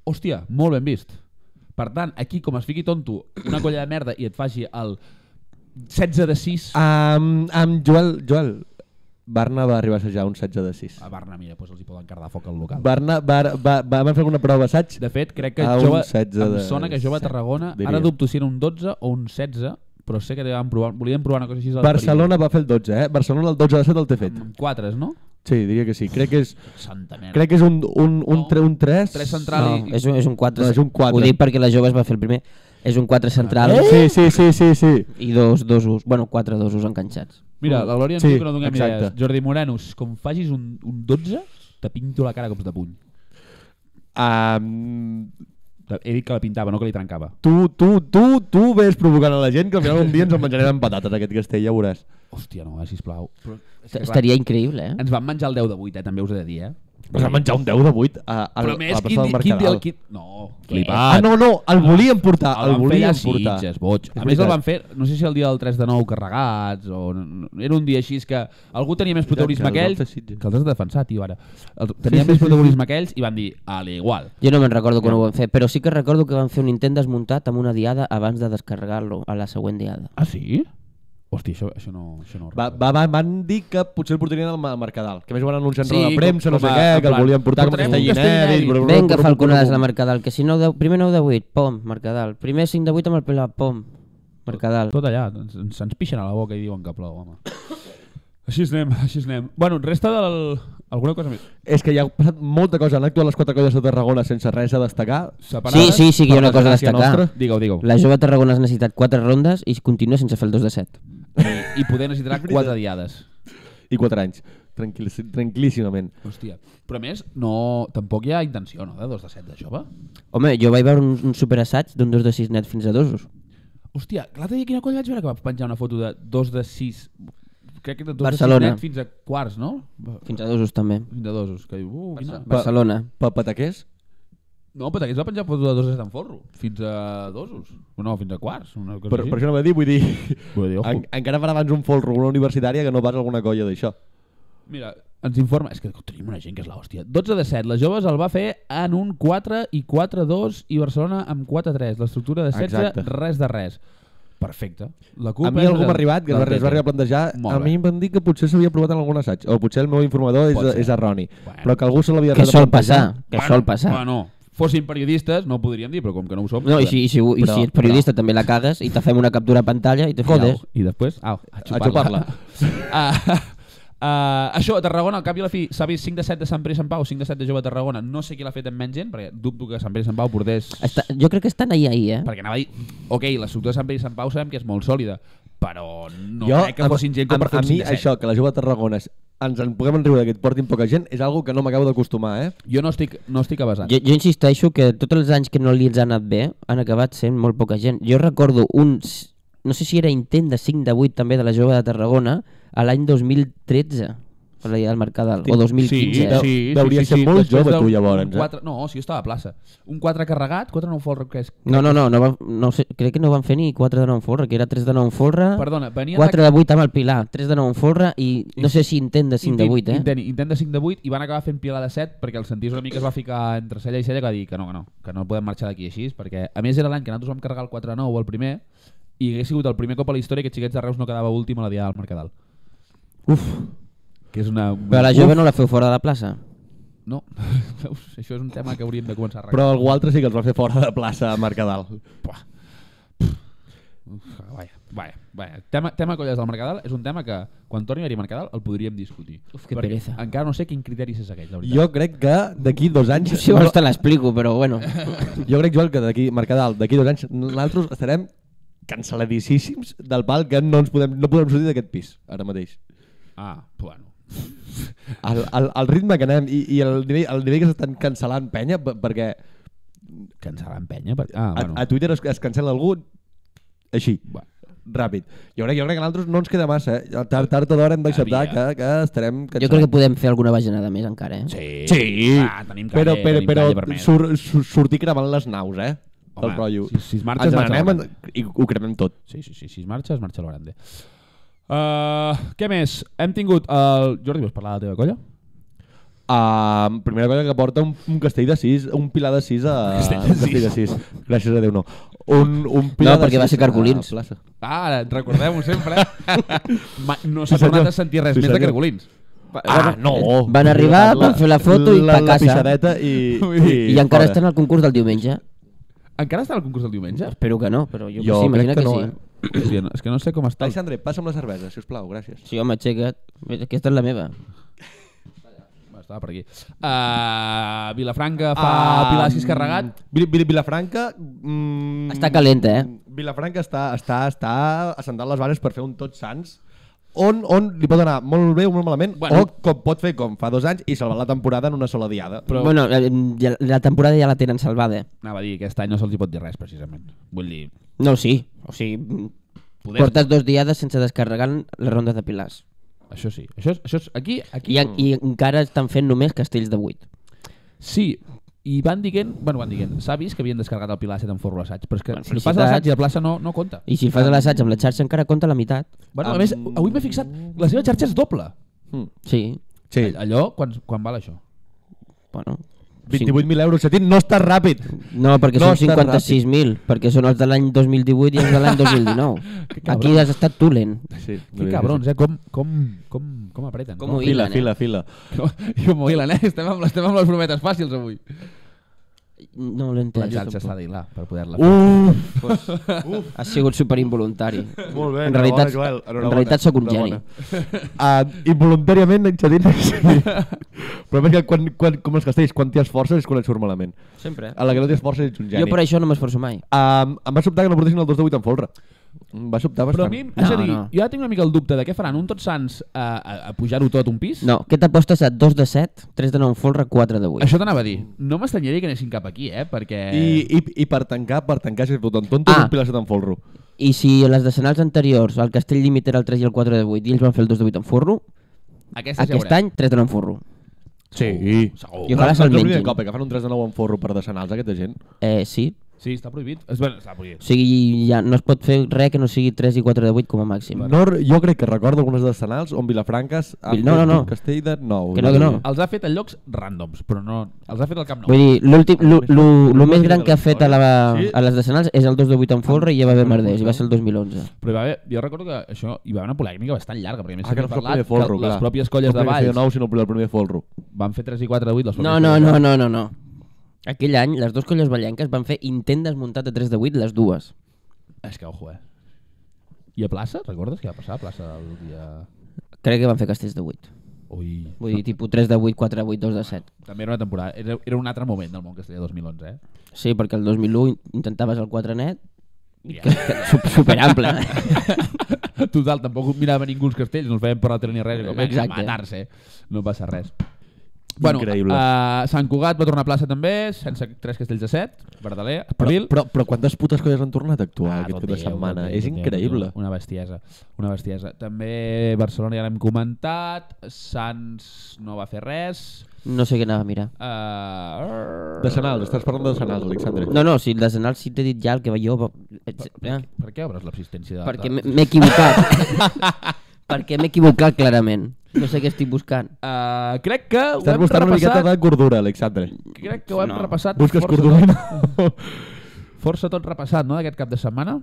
S1: Hòstia, molt ben vist. Per tant, aquí com es fiqui tonto una colla de merda i et faci el 16 de 6... Ah.
S2: Amb, amb Joel, Joel, Barna va arribar a assajar un 16 de 6.
S1: A Barna, mira, doncs els hi poden cardar foc al local.
S2: Barna va, va, va, van fer alguna prova assaig
S1: De fet, crec que
S2: A un
S1: jove,
S2: 16
S1: em
S2: de
S1: sona que jove a
S2: set,
S1: Tarragona,
S2: diria.
S1: ara dubto si era un 12 o un 16, però sé que van provar, volien provar una cosa així. al
S2: Barcelona va fer el Mm. 12, eh? Barcelona el 12 de 7 el té fet.
S1: perímetre. Amb quatres, no?
S2: Sí, diria que sí. Crec que és,
S1: Santa merda.
S2: crec que és un, un, un, tre, un 3...
S1: Tres central
S3: No,
S1: i...
S3: és un, és un 4.
S2: No, és un quatre. Eh?
S3: Ho dic perquè la jove es va fer el primer. És un 4 central
S2: Sí, sí, sí, sí, sí.
S3: i dos dosos, bueno, 4 dosos enganxats.
S1: Mira, la Glòria ens
S2: Mm. Sí,
S1: diu que no donem
S2: exacte.
S1: idees. Jordi Morenos, com facis un, un 12, te pinto la cara a cops de puny.
S2: Um,
S1: He dit que la pintava, no que li trencava.
S2: tu, tu, tu, tu ves provocant a la gent que al final un dia ens el menjarem amb patates aquest castell, ja ho veuràs.
S1: Hòstia, no, eh, sisplau. Però, és que, clar,
S3: Estaria increïble, eh?
S1: Ens van menjar el 10 de 8, eh, també us he de dir, eh?
S2: Vas a menjar un 10 de 8 a, a,
S1: Però
S2: a
S1: a més,
S2: la
S1: quin,
S2: plaça del
S1: di- quin dia... El,
S2: Mercadal.
S1: quin... Eh, No,
S2: Ah, no, no, el volíem portar, el,
S1: van fer
S2: volíem
S1: allà a
S2: portar.
S1: Sitges, boig.
S2: És
S1: A més el
S2: veritat.
S1: van fer, no sé si el dia del 3 de 9 carregats, o no- no- era un dia així és que algú tenia més protagonisme
S2: que
S1: que
S2: els
S1: ells,
S2: van fer Sitges.
S1: que els has de defensar, tio, ara. El- Tenia més protagonisme que ells i van dir, a l'igual.
S3: Jo no me'n recordo quan ho van fer, però sí que recordo que van fer un intent desmuntat amb una diada abans de descarregar-lo a la següent diada.
S1: Ah, sí? Hòstia, això, això no... Això no ho
S2: Va,
S1: recordo.
S2: va, va, van dir que potser el portarien al Ma- Mercadal, que a més ho van anunciar en sí, roda
S1: Sí,
S2: de premsa, no
S1: com
S2: sé
S1: a-
S2: què,
S1: en
S2: que el
S1: plan,
S2: volien portar com a
S1: portarem un
S2: castell
S1: castell
S2: inèdit...
S1: inèdit.
S2: brum, brum,
S3: Vinga,
S2: brum,
S3: falconades la
S2: brum, brum.
S3: Mercadal, que si 9 de, primer 9 de 8, pom, Mercadal. Primer 5 de 8 amb el Pilar, pom, Mercadal.
S1: Tot allà, ens- ens- se'ns pixen a la boca i diuen que plou, home. Així es anem, així es anem. Bueno, resta del... alguna cosa més?
S2: És que ja ha passat molta cosa, han actuat les quatre colles de Tarragona sense res a destacar.
S1: Separades?
S3: Sí, sí, sí que hi ha
S2: per
S3: una cosa a
S2: desgràcia
S3: destacar.
S2: nostra.
S1: Digue-ho, digue-ho.
S3: La jove Tarragona has necessitat 4 rondes i continua sense fer el 2 de 7.
S1: Eh, I, I poder necessitarà quatre diades.
S2: I quatre anys, Tranquil, tranquil·líssimament.
S1: Hòstia. Però a més, no, tampoc hi ha intenció, no?, de dos de set de jove.
S3: Home, jo vaig veure un, un superassaig d'un 2 de 6 net fins a dosos.
S1: Hòstia, l'altre dia quina colla vaig veure que va penjar una foto de dos de sis... Crec que de dos
S3: Barcelona.
S1: de sis net fins a quarts, no?
S3: Fins a dosos també.
S1: Fins a dosos. Que diu, uh, quina...
S3: Barcelona.
S2: Pa Pataquers?
S1: No, però aquest va penjar foto de dos de forro. Fins a dosos. No, fins a quarts. Una cosa
S2: Per,
S1: així.
S2: per això no va dir, vull dir...
S1: Vull dir, <laughs> ojo.
S2: En, encara farà abans un folro una universitària que no pas alguna colla d'això.
S1: Mira, ens informa... És que tenim una gent que és l'hòstia. 12 de 7, les joves el va fer en un 4 i 4-2 i Barcelona amb 4-3. L'estructura de 16,
S2: Exacte.
S1: res de res. Perfecte. La
S2: A
S1: CUP
S2: mi
S1: és
S2: algú
S1: del-
S2: m'ha arribat, que
S1: del
S2: es va
S1: PP.
S2: arribar a plantejar,
S1: Molt
S2: a
S1: bé.
S2: mi em van dir que potser s'havia provat en algun assaig, o potser el meu informador
S1: Pot
S2: és,
S1: ser.
S2: és erroni,
S1: Bueno.
S2: però que algú se l'havia
S3: Que
S2: arribat a
S3: sol
S2: plantejar.
S3: passar, que sol passar.
S1: Bueno, fossin periodistes, no ho podríem dir, però com que no ho som...
S3: No, i si, i si, ho- i
S2: Però-
S3: si ets periodista també la cagues i te fem una captura a pantalla i te fodes.
S1: I després, au, a xupar-la.
S2: xupar-la.
S1: <laughs> Ah, ah, això, a Tarragona, al cap i a la fi, s'ha vist 5 de 7 de Sant Pere i Sant Pau, 5 de 7 de Jove a Tarragona. No sé qui l'ha fet amb menys gent, perquè dubto que Sant Pere i Sant Pau portés...
S3: Està, jo crec que estan ahir, ahir, eh?
S1: Perquè anava a dir, ok, l'estructura de Sant Pere i Sant Pau sabem que és molt sòlida, però no
S2: jo,
S1: crec que fossin gent com
S2: amb,
S1: per fer
S2: a
S1: un
S2: mi
S1: 5 de 7.
S2: això, que la jove de Tarragona es- ens en puguem enriure que et portin poca gent, és algo que no m'acabo d'acostumar, eh?
S1: Jo no estic, no estic avasant.
S3: Jo, jo insisteixo que tots els anys que no li ens ha anat bé han acabat sent molt poca gent. Jo recordo un, s- no sé si era intent de 5 de 8 també de la jove de Tarragona a l'any 2013 per la al Mercadal, o 2015.
S1: Sí,
S3: eh?
S1: sí, sí,
S2: Deuria
S1: sí,
S2: ser
S1: sí.
S2: molt
S1: Després
S2: jove,
S1: d'un-
S2: tu, llavors, eh?
S1: Quatre, no, si jo estava a plaça. Un 4 carregat, 4 no folre, que és...
S3: No, no, no, no, van, no sé, crec que no van fer ni 4 de 9 forra, que era 3 de 9 forra,
S2: Ah.
S1: Perdona, venia
S3: 4 de 8 amb el Pilar, 3 de 9 forra i no sé si intent de 5 de 8, eh?
S1: Intent, intent de 5 de 8 i van acabar fent pilar de 7 perquè el sentís una mica es va ficar entre cella i cella que va dir que no, que no, que no podem marxar d'aquí així perquè a més era l'any que nosaltres vam carregar el 4 de 9 el primer i hagués sigut el primer cop a la història que Xiquets de Reus no quedava últim a la Diada del Mercadal. Uf! Que és una...
S3: Però la jove no la feu fora de la plaça.
S1: No, <laughs> Veus? això és un tema que hauríem de començar a arreglar.
S2: Però algú altre sí que els va fer fora de plaça a Mercadal.
S1: Buah. Uf, ah, Vaja, vaja, vaja. Tema, tema colles del Mercadal és un tema que quan torni a haver Mercadal el podríem discutir.
S3: Uf, que
S1: Perquè
S3: pereza.
S1: Encara no sé quin criteri se segueix, la veritat.
S2: Jo crec que d'aquí dos anys...
S3: Si vols te l'explico, però bueno.
S2: Jo crec, Joel, que d'aquí, Mercadal, d'aquí dos anys, nosaltres estarem canceladíssims del pal que no, ens podem, no podem sortir d'aquest pis, ara mateix.
S1: Ah, bueno.
S2: El, el, el ritme que anem i, i el, nivell, el nivell que s'estan cancel·lant penya, per- perquè
S1: Cancel penya? Per... Ah,
S2: a,
S1: bueno.
S2: a Twitter es, es cancela algú així,
S1: Va.
S2: ràpid. Jo crec, jo crec que a nosaltres no ens queda massa, eh? Tard, tard o d'hora hem d'acceptar que,
S1: Aviam.
S2: que estarem
S3: Jo crec que podem fer alguna vaginada més encara, eh?
S1: Sí.
S2: Sí.
S1: Ah, tenim calle,
S2: però, però,
S1: tenim calle
S2: però
S1: vermella.
S2: sur, sur, sortir cremant les naus, eh?
S1: Home,
S2: Home, el rotllo.
S1: si- si es marxa, es
S2: Ens
S1: marxa
S2: n'anem
S1: la
S2: en- i ho cremem tot.
S1: Sí, sí, sí, si es marxa, es marxa a lo grande. Uh, què més? Hem tingut el... Jordi, vols parlar de la teva colla?
S2: Uh, primera cosa que porta un, un castell de 6, un pilar de 6 a...
S1: castell de
S2: un castell de 6. Gràcies a Déu, no. Un, un pilar
S3: No, perquè
S2: de
S3: va
S2: sis
S3: ser Cargolins.
S2: a la plaça.
S1: Ah, ara, recordem-ho <laughs> sempre. Ma- no s'ha
S2: Sí, senyor.
S1: tornat a sentir res
S2: Sí,
S1: més de
S2: senyor.
S1: cargolins.
S2: Ah, no!
S3: Van arribar, van fer la foto i
S2: la,
S3: pa
S2: la
S3: casa.
S2: pixadeta i,
S3: <laughs>
S1: Vull dir,
S3: I encara
S2: fora.
S3: estan al concurs del diumenge.
S1: Encara està el concurs del diumenge?
S3: Espero que no, però jo,
S2: Jo
S3: sí, imagina
S2: crec que,
S3: que,
S2: no,
S3: sí.
S2: eh?
S1: Hòstia, no, és que no sé com està. el-
S2: Alexandre, passa'm la cervesa, si us plau, gràcies.
S3: Sí, home, aixeca't. Aquesta és la meva.
S1: Va, Estava per aquí. Uh, Vilafranca fa
S2: Ah,
S1: uh, Pilar 6 carregat.
S2: Vil, Vil, Vilafranca... Mm,
S3: Està calenta, eh?
S2: Vilafranca està, està, està assentant les bares per fer un Tots Sants on, on li pot anar molt bé o molt malament
S1: Bueno.
S2: bueno. o com pot fer com fa dos anys i salvar la temporada en una sola diada.
S1: Però-
S3: Però... Bueno, eh, ja- la temporada ja la tenen salvada.
S1: Anava a dir, aquest any no se'ls hi pot dir res, precisament. Vull dir,
S3: No, sí. O sigui, mm,
S1: poder...
S3: portes dos diades sense descarregar les rondes de pilars.
S1: Això sí. Això és, això és aquí, aquí
S3: I, en- I encara estan fent només castells de 8.
S1: Sí, i van dient, bueno, van dient, s'ha vist que havien descarregat el Pilar 7 en forro assaig, però és que
S3: Bueno,
S1: si ho fas a
S3: felicitats.
S1: l'assaig i a plaça no, no compta.
S3: I si fas l'assaig amb la xarxa encara compta la meitat.
S1: Bueno, a
S2: Am-
S1: més, avui m'he fixat, la seva xarxa és doble.
S2: Mm.
S3: Sí.
S2: Sí,
S1: Allò, quan, quan val això?
S3: Bueno.
S2: 28.000 euros, Setín, no estàs ràpid.
S3: No, perquè
S2: No
S3: no
S2: està
S3: són 56.000, perquè són els de l'any 2018 i els de l'any 2019.
S1: cabrón.
S3: Aquí has estat tu lent.
S2: Sí,
S1: Que cabrons, eh? Com, com, com, com apreten.
S3: Com ho
S1: no?
S3: hi-
S2: Fila,
S3: Moïlen, eh?
S2: fila, fila.
S1: Com, <laughs> jo m'ho hilen, eh? Estem amb, les- estem amb les brometes fàcils avui.
S3: No
S1: La
S3: l'entenc.
S1: xarxa s'ha d'hilar per poder-la
S2: Uh,
S1: fer.
S2: Uf,
S3: Ha sigut super involuntari. <laughs>
S2: molt bé,
S3: en
S2: enhorabona,
S3: realitat,
S2: Joel,
S3: en
S2: enhorabona.
S3: realitat sóc un geni.
S2: Enhorabona. Uh, involuntàriament, en Setín, sí. Però és que quan, quan, com els castells, quan t'hi esforces és quan et surt malament.
S3: Sempre. eh?
S2: A la que no t'hi esforces ets un geni.
S3: Jo per això no m'esforço mai.
S2: Um, em va sobtar que no portessin el 2 de 8 en folre. Em va sobtar
S1: Però a
S2: bastant.
S1: mi, és a dir,
S3: no.
S1: jo ara tinc una mica el dubte de què faran un Tots Sants a, a, a pujar-ho tot un pis?
S3: No, què t'apostes a 2 de 7, 3 de 9 folre, 4 de 8?
S1: Això t'anava a dir. No m'estranyaria que anessin cap aquí, eh? Perquè...
S2: I, i, I per tancar, per tancar, si foten tontos, ah.
S3: Ah.
S2: un pilar en folro.
S3: I si a les decenals anteriors el castell límit era el 3 i el 4 de 8 i ells van fer el 2 de 8 en forro,
S1: Aquesta ja
S3: aquest
S1: veurem.
S3: any 3 de 9 en forro.
S2: Sí.
S1: Segur.
S3: Jo- Ojalà se'l
S2: No ens oblidem
S3: mengin.
S2: Cop, eh, que fan un 3 de 9 en folro per decenals, aquesta gent.
S3: Eh, sí,
S1: Sí, està prohibit. És, bueno, està prohibit.
S3: O sigui, ja no es pot fer res que no sigui 3 i 4 de 8 com a màxim.
S2: No, re- jo crec que recordo algunes de escenals on Vilafranca ha
S3: Vil- no, no,
S2: fet
S3: no.
S2: un castell de nou.
S3: Que no, Ah, que no.
S1: Els ha fet en llocs randoms, però no... Els ha fet al Camp Nou.
S3: Vull dir, l'últim, lo, lo, lo més gran que ha fet a, la,
S2: Sí.
S3: a les decenals és el 2 de 8 en folre i ja va haver merders, i va ser el 2011.
S1: Però hi va haver, jo recordo que això hi va haver una polèmica bastant llarga, perquè a més
S2: Ah, que
S1: s'havia
S2: no fos el primer folro,
S1: que
S2: clar.
S1: les pròpies colles
S2: No
S1: de
S2: el primer
S1: Valls
S2: nou, sinó el primer folro.
S1: van fer 3 i 4 de 8. Les
S3: No, no, no, no, no, no. Aquell any, les dues colles ballenques van fer intent desmuntat de 3 de 8, les dues.
S1: És que, ojo, eh? I a plaça? Recordes què va passar a plaça el dia...
S3: Crec que van fer castells de 8.
S1: Ui...
S3: Vull dir, tipus 3 de 8, 4 de 8, 2 de 7.
S1: També era una temporada... Era, era un altre moment del món castellà 2011, eh?
S3: Sí, perquè el 2001 intentaves el 4 net,
S1: Ja.
S3: que, que sup- superample.
S1: <laughs> Total, tampoc mirava ningú els castells, no els veiem per la tele ni res, i com, eh, a
S3: Exacte.
S1: matar-se, no passa res.
S2: Increïble.
S1: Uh, Sant Cugat va tornar a plaça també, sense tres castells de set, Verdaler,
S2: Però,
S1: Espadil...
S2: però, però quantes putes colles han tornat a actuar
S1: Ah,
S2: ah, aquest
S1: tot
S2: cap de
S1: Déu,
S2: setmana?
S1: tot Déu,
S2: és
S1: tot Déu,
S2: increïble.
S1: tot Déu. Una bestiesa, una bestiesa. També Barcelona ja l'hem comentat, Sants no va fer res...
S3: No sé què anava a mirar.
S1: Uh...
S2: De Senals, estàs parlant de Senals, Alexandre.
S3: No, no, si les anals sí t'he dit ja el que va jo... va- Eh?
S1: Per què obres l'absistència de...
S3: Perquè
S1: de...
S3: m'he m'he equivocat. perquè m'he equivocat clarament. No sé què estic buscant.
S1: Uh, crec que ho
S2: Estàs
S1: hem
S2: buscant una miqueta
S1: repassat...
S2: de gordura, Alexandre.
S1: Crec que ho hem
S3: No.
S1: repassat...
S2: Busques
S1: força
S2: gordura?
S1: tot.
S2: No.
S1: <laughs> Força tot repassat, no?, d'aquest cap de setmana.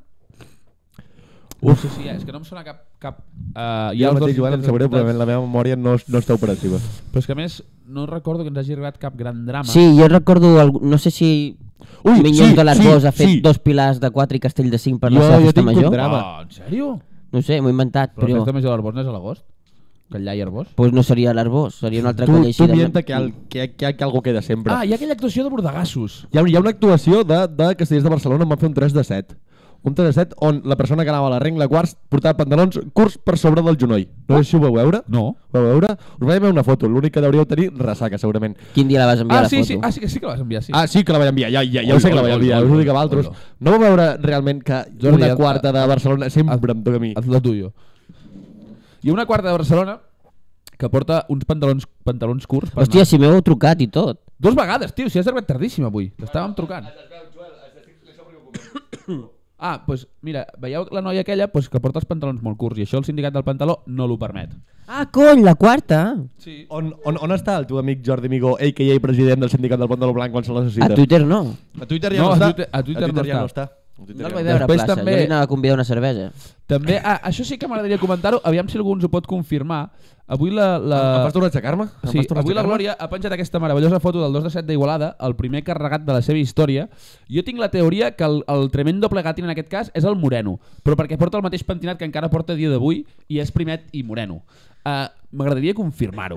S1: Uf. No sé si hi ha, és que no em sona cap... cap uh,
S2: Jo mateix, Joan, em sap greu, però la meva memòria no, no està operativa.
S1: Però és que a més no recordo que ens hagi arribat cap gran drama.
S3: Sí, jo recordo, algú- no sé si
S2: Ui,
S3: Ui, Minyons
S2: sí,
S3: de l'Arbós
S2: sí,
S3: ha fet
S2: sí.
S3: dos pilars de 4 i castell de 5 per
S2: Jo-
S3: la seva
S2: jo
S3: festa
S2: tinc un
S3: major.
S2: drama.
S1: Oh, en sèrio?
S3: No sé, m'ho he inventat,
S1: Però la
S3: però...
S1: festa major de l'Arbós no és a l'agost? Que allà hi ha Arbós?
S3: Pues no seria l'Arbós, seria una altra
S2: Tu,
S3: colla així.
S2: tu mienta que, el, que, que, que algo queda sempre.
S1: Ah, hi ha aquella actuació de bordegassos.
S2: Hi ha, hi ha una actuació de, de Castellers de Barcelona on van fer un 3 de 7. Un 3 de 7 on la persona que anava a la regla quarts portava pantalons curts per sobre del genoll. No sé si ho vau veure.
S1: No.
S2: Ho Vau veure? Us vaig veure una foto. L'únic que deuríeu tenir ressaca, segurament.
S3: Quin dia la vas enviar
S1: Ah,
S3: la
S1: sí,
S3: foto?
S1: sí, ah, sí, que sí que la vas enviar, sí.
S2: Ah, sí que la vaig enviar, ja, ja, ja ho
S1: Ui,
S2: sé que la
S1: ui,
S2: vaig
S1: ui,
S2: enviar,
S1: ui,
S2: us ho dic a
S1: ui,
S2: vosaltres.
S1: ui.
S2: No vau veure realment que
S1: Jordi,
S2: una
S1: et-
S2: quarta de Barcelona sempre em toca a mi.
S1: Haz lo tuyo. Hi ha una quarta de Barcelona que porta uns pantalons, pantalons curts. Per
S3: Hòstia,
S1: anar-
S3: si m'heu trucat i tot.
S1: Dos vegades, tio, si has arribat tardíssim avui. T'estàvem trucant. <coughs> Ah, doncs pues, mira, veieu la noia aquella pues, que porta els pantalons molt curts i això el sindicat del pantaló no l'ho permet.
S3: Ah, cony, la quarta!
S1: Sí.
S2: On, on, on està el teu amic Jordi Migó, a.k.a. president del sindicat del Pantaló Blanc, quan se
S3: A
S2: necessita?
S3: Twitter no.
S2: a Twitter
S1: No, a Twitter- a Twitter no
S2: ja
S1: està.
S2: no
S3: No el vaig veure a
S1: Després
S3: plaça, també...
S1: també-
S3: jo li anava a convidar una cervesa.
S1: També, ah, això sí que m'agradaria comentar-ho, aviam si algú ens ho pot confirmar. Avui la... la...
S2: Em fas tornar a aixecar-me? Em
S1: Sí,
S2: fas tornar a
S1: avui la
S2: aixecar-me?
S1: Glòria ha penjat aquesta meravellosa foto del 2 de 7 d'Igualada, el primer carregat de la seva història. Jo tinc la teoria que el, el tremendo plegatin en aquest cas és el Moreno, però perquè porta el mateix pentinat que encara porta a dia d'avui i és primet i Moreno. Uh, M'agradaria confirmar-ho.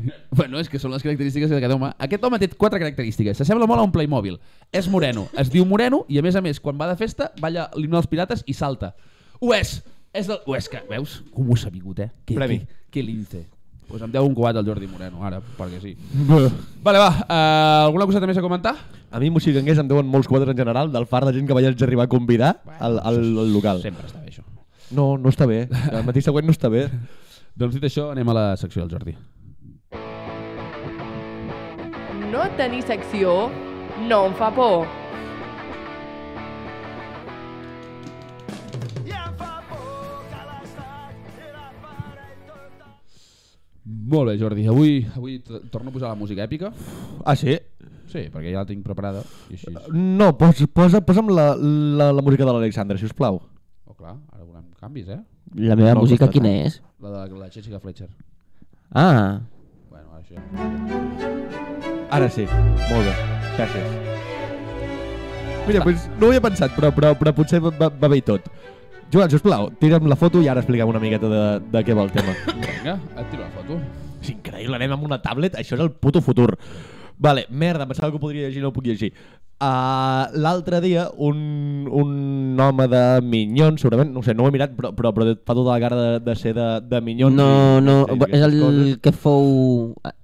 S1: <laughs> bueno, és que són les característiques d'aquest home. Aquest home té quatre característiques. S'assembla molt a un Playmobil. És moreno, es diu moreno i a més a més, quan va de festa, balla l'himne dels pirates i salta. Ho és! És el... Ho és que, veus? Com ho he sabut, eh? Que,
S2: Premi.
S1: Que, que lince. Pues em deu un cubat al Jordi Moreno, ara, perquè sí.
S2: <laughs>
S1: Vale, va, uh, alguna cosa més a comentar?
S2: A mi moxiganguers em deuen molts quadres en general del far de gent que vaig arribar a convidar al, al, al local.
S1: Sempre està bé, això.
S2: No, no està bé. El matí següent no està bé.
S1: Doncs dit això, anem a la secció del Jordi.
S4: No tenir secció no em fa por.
S1: Molt bé, Jordi. Avui, avui t- torno a posar la música èpica.
S2: Ah, sí?
S1: Sí, perquè ja la tinc preparada. I així...
S2: No, posa, posa, posa'm la, la, la música de l'Alexandre, si us plau.
S1: Oh, clar, ara volem canvis, eh?
S3: La meva
S2: No,
S3: música
S2: no,
S3: quina
S2: no.
S3: és?
S1: La de la Jessica Fletcher.
S3: Ah,
S1: Bueno, això...
S2: Ara sí. Molt bé. Gràcies. Mira, doncs, no ho havia pensat, però, però, però potser va, va- va bé i tot. Joan, sisplau, tira'm la foto i ara expliquem una miqueta de, de què va el tema.
S1: Vinga, et tiro la foto.
S2: És increïble, anem amb una tablet, això és el puto futur. Vale, merda, em pensava que ho podria llegir, no ho puc llegir. Uh, L'altre dia, un, un home de Minyons, segurament, no ho sé, no ho he mirat, però, però, però fa tota la cara de, de ser de, de Minyons.
S3: no,
S2: i-
S3: no,
S2: i
S3: és
S2: aquestes
S3: el
S2: coses.
S3: que fou... ah,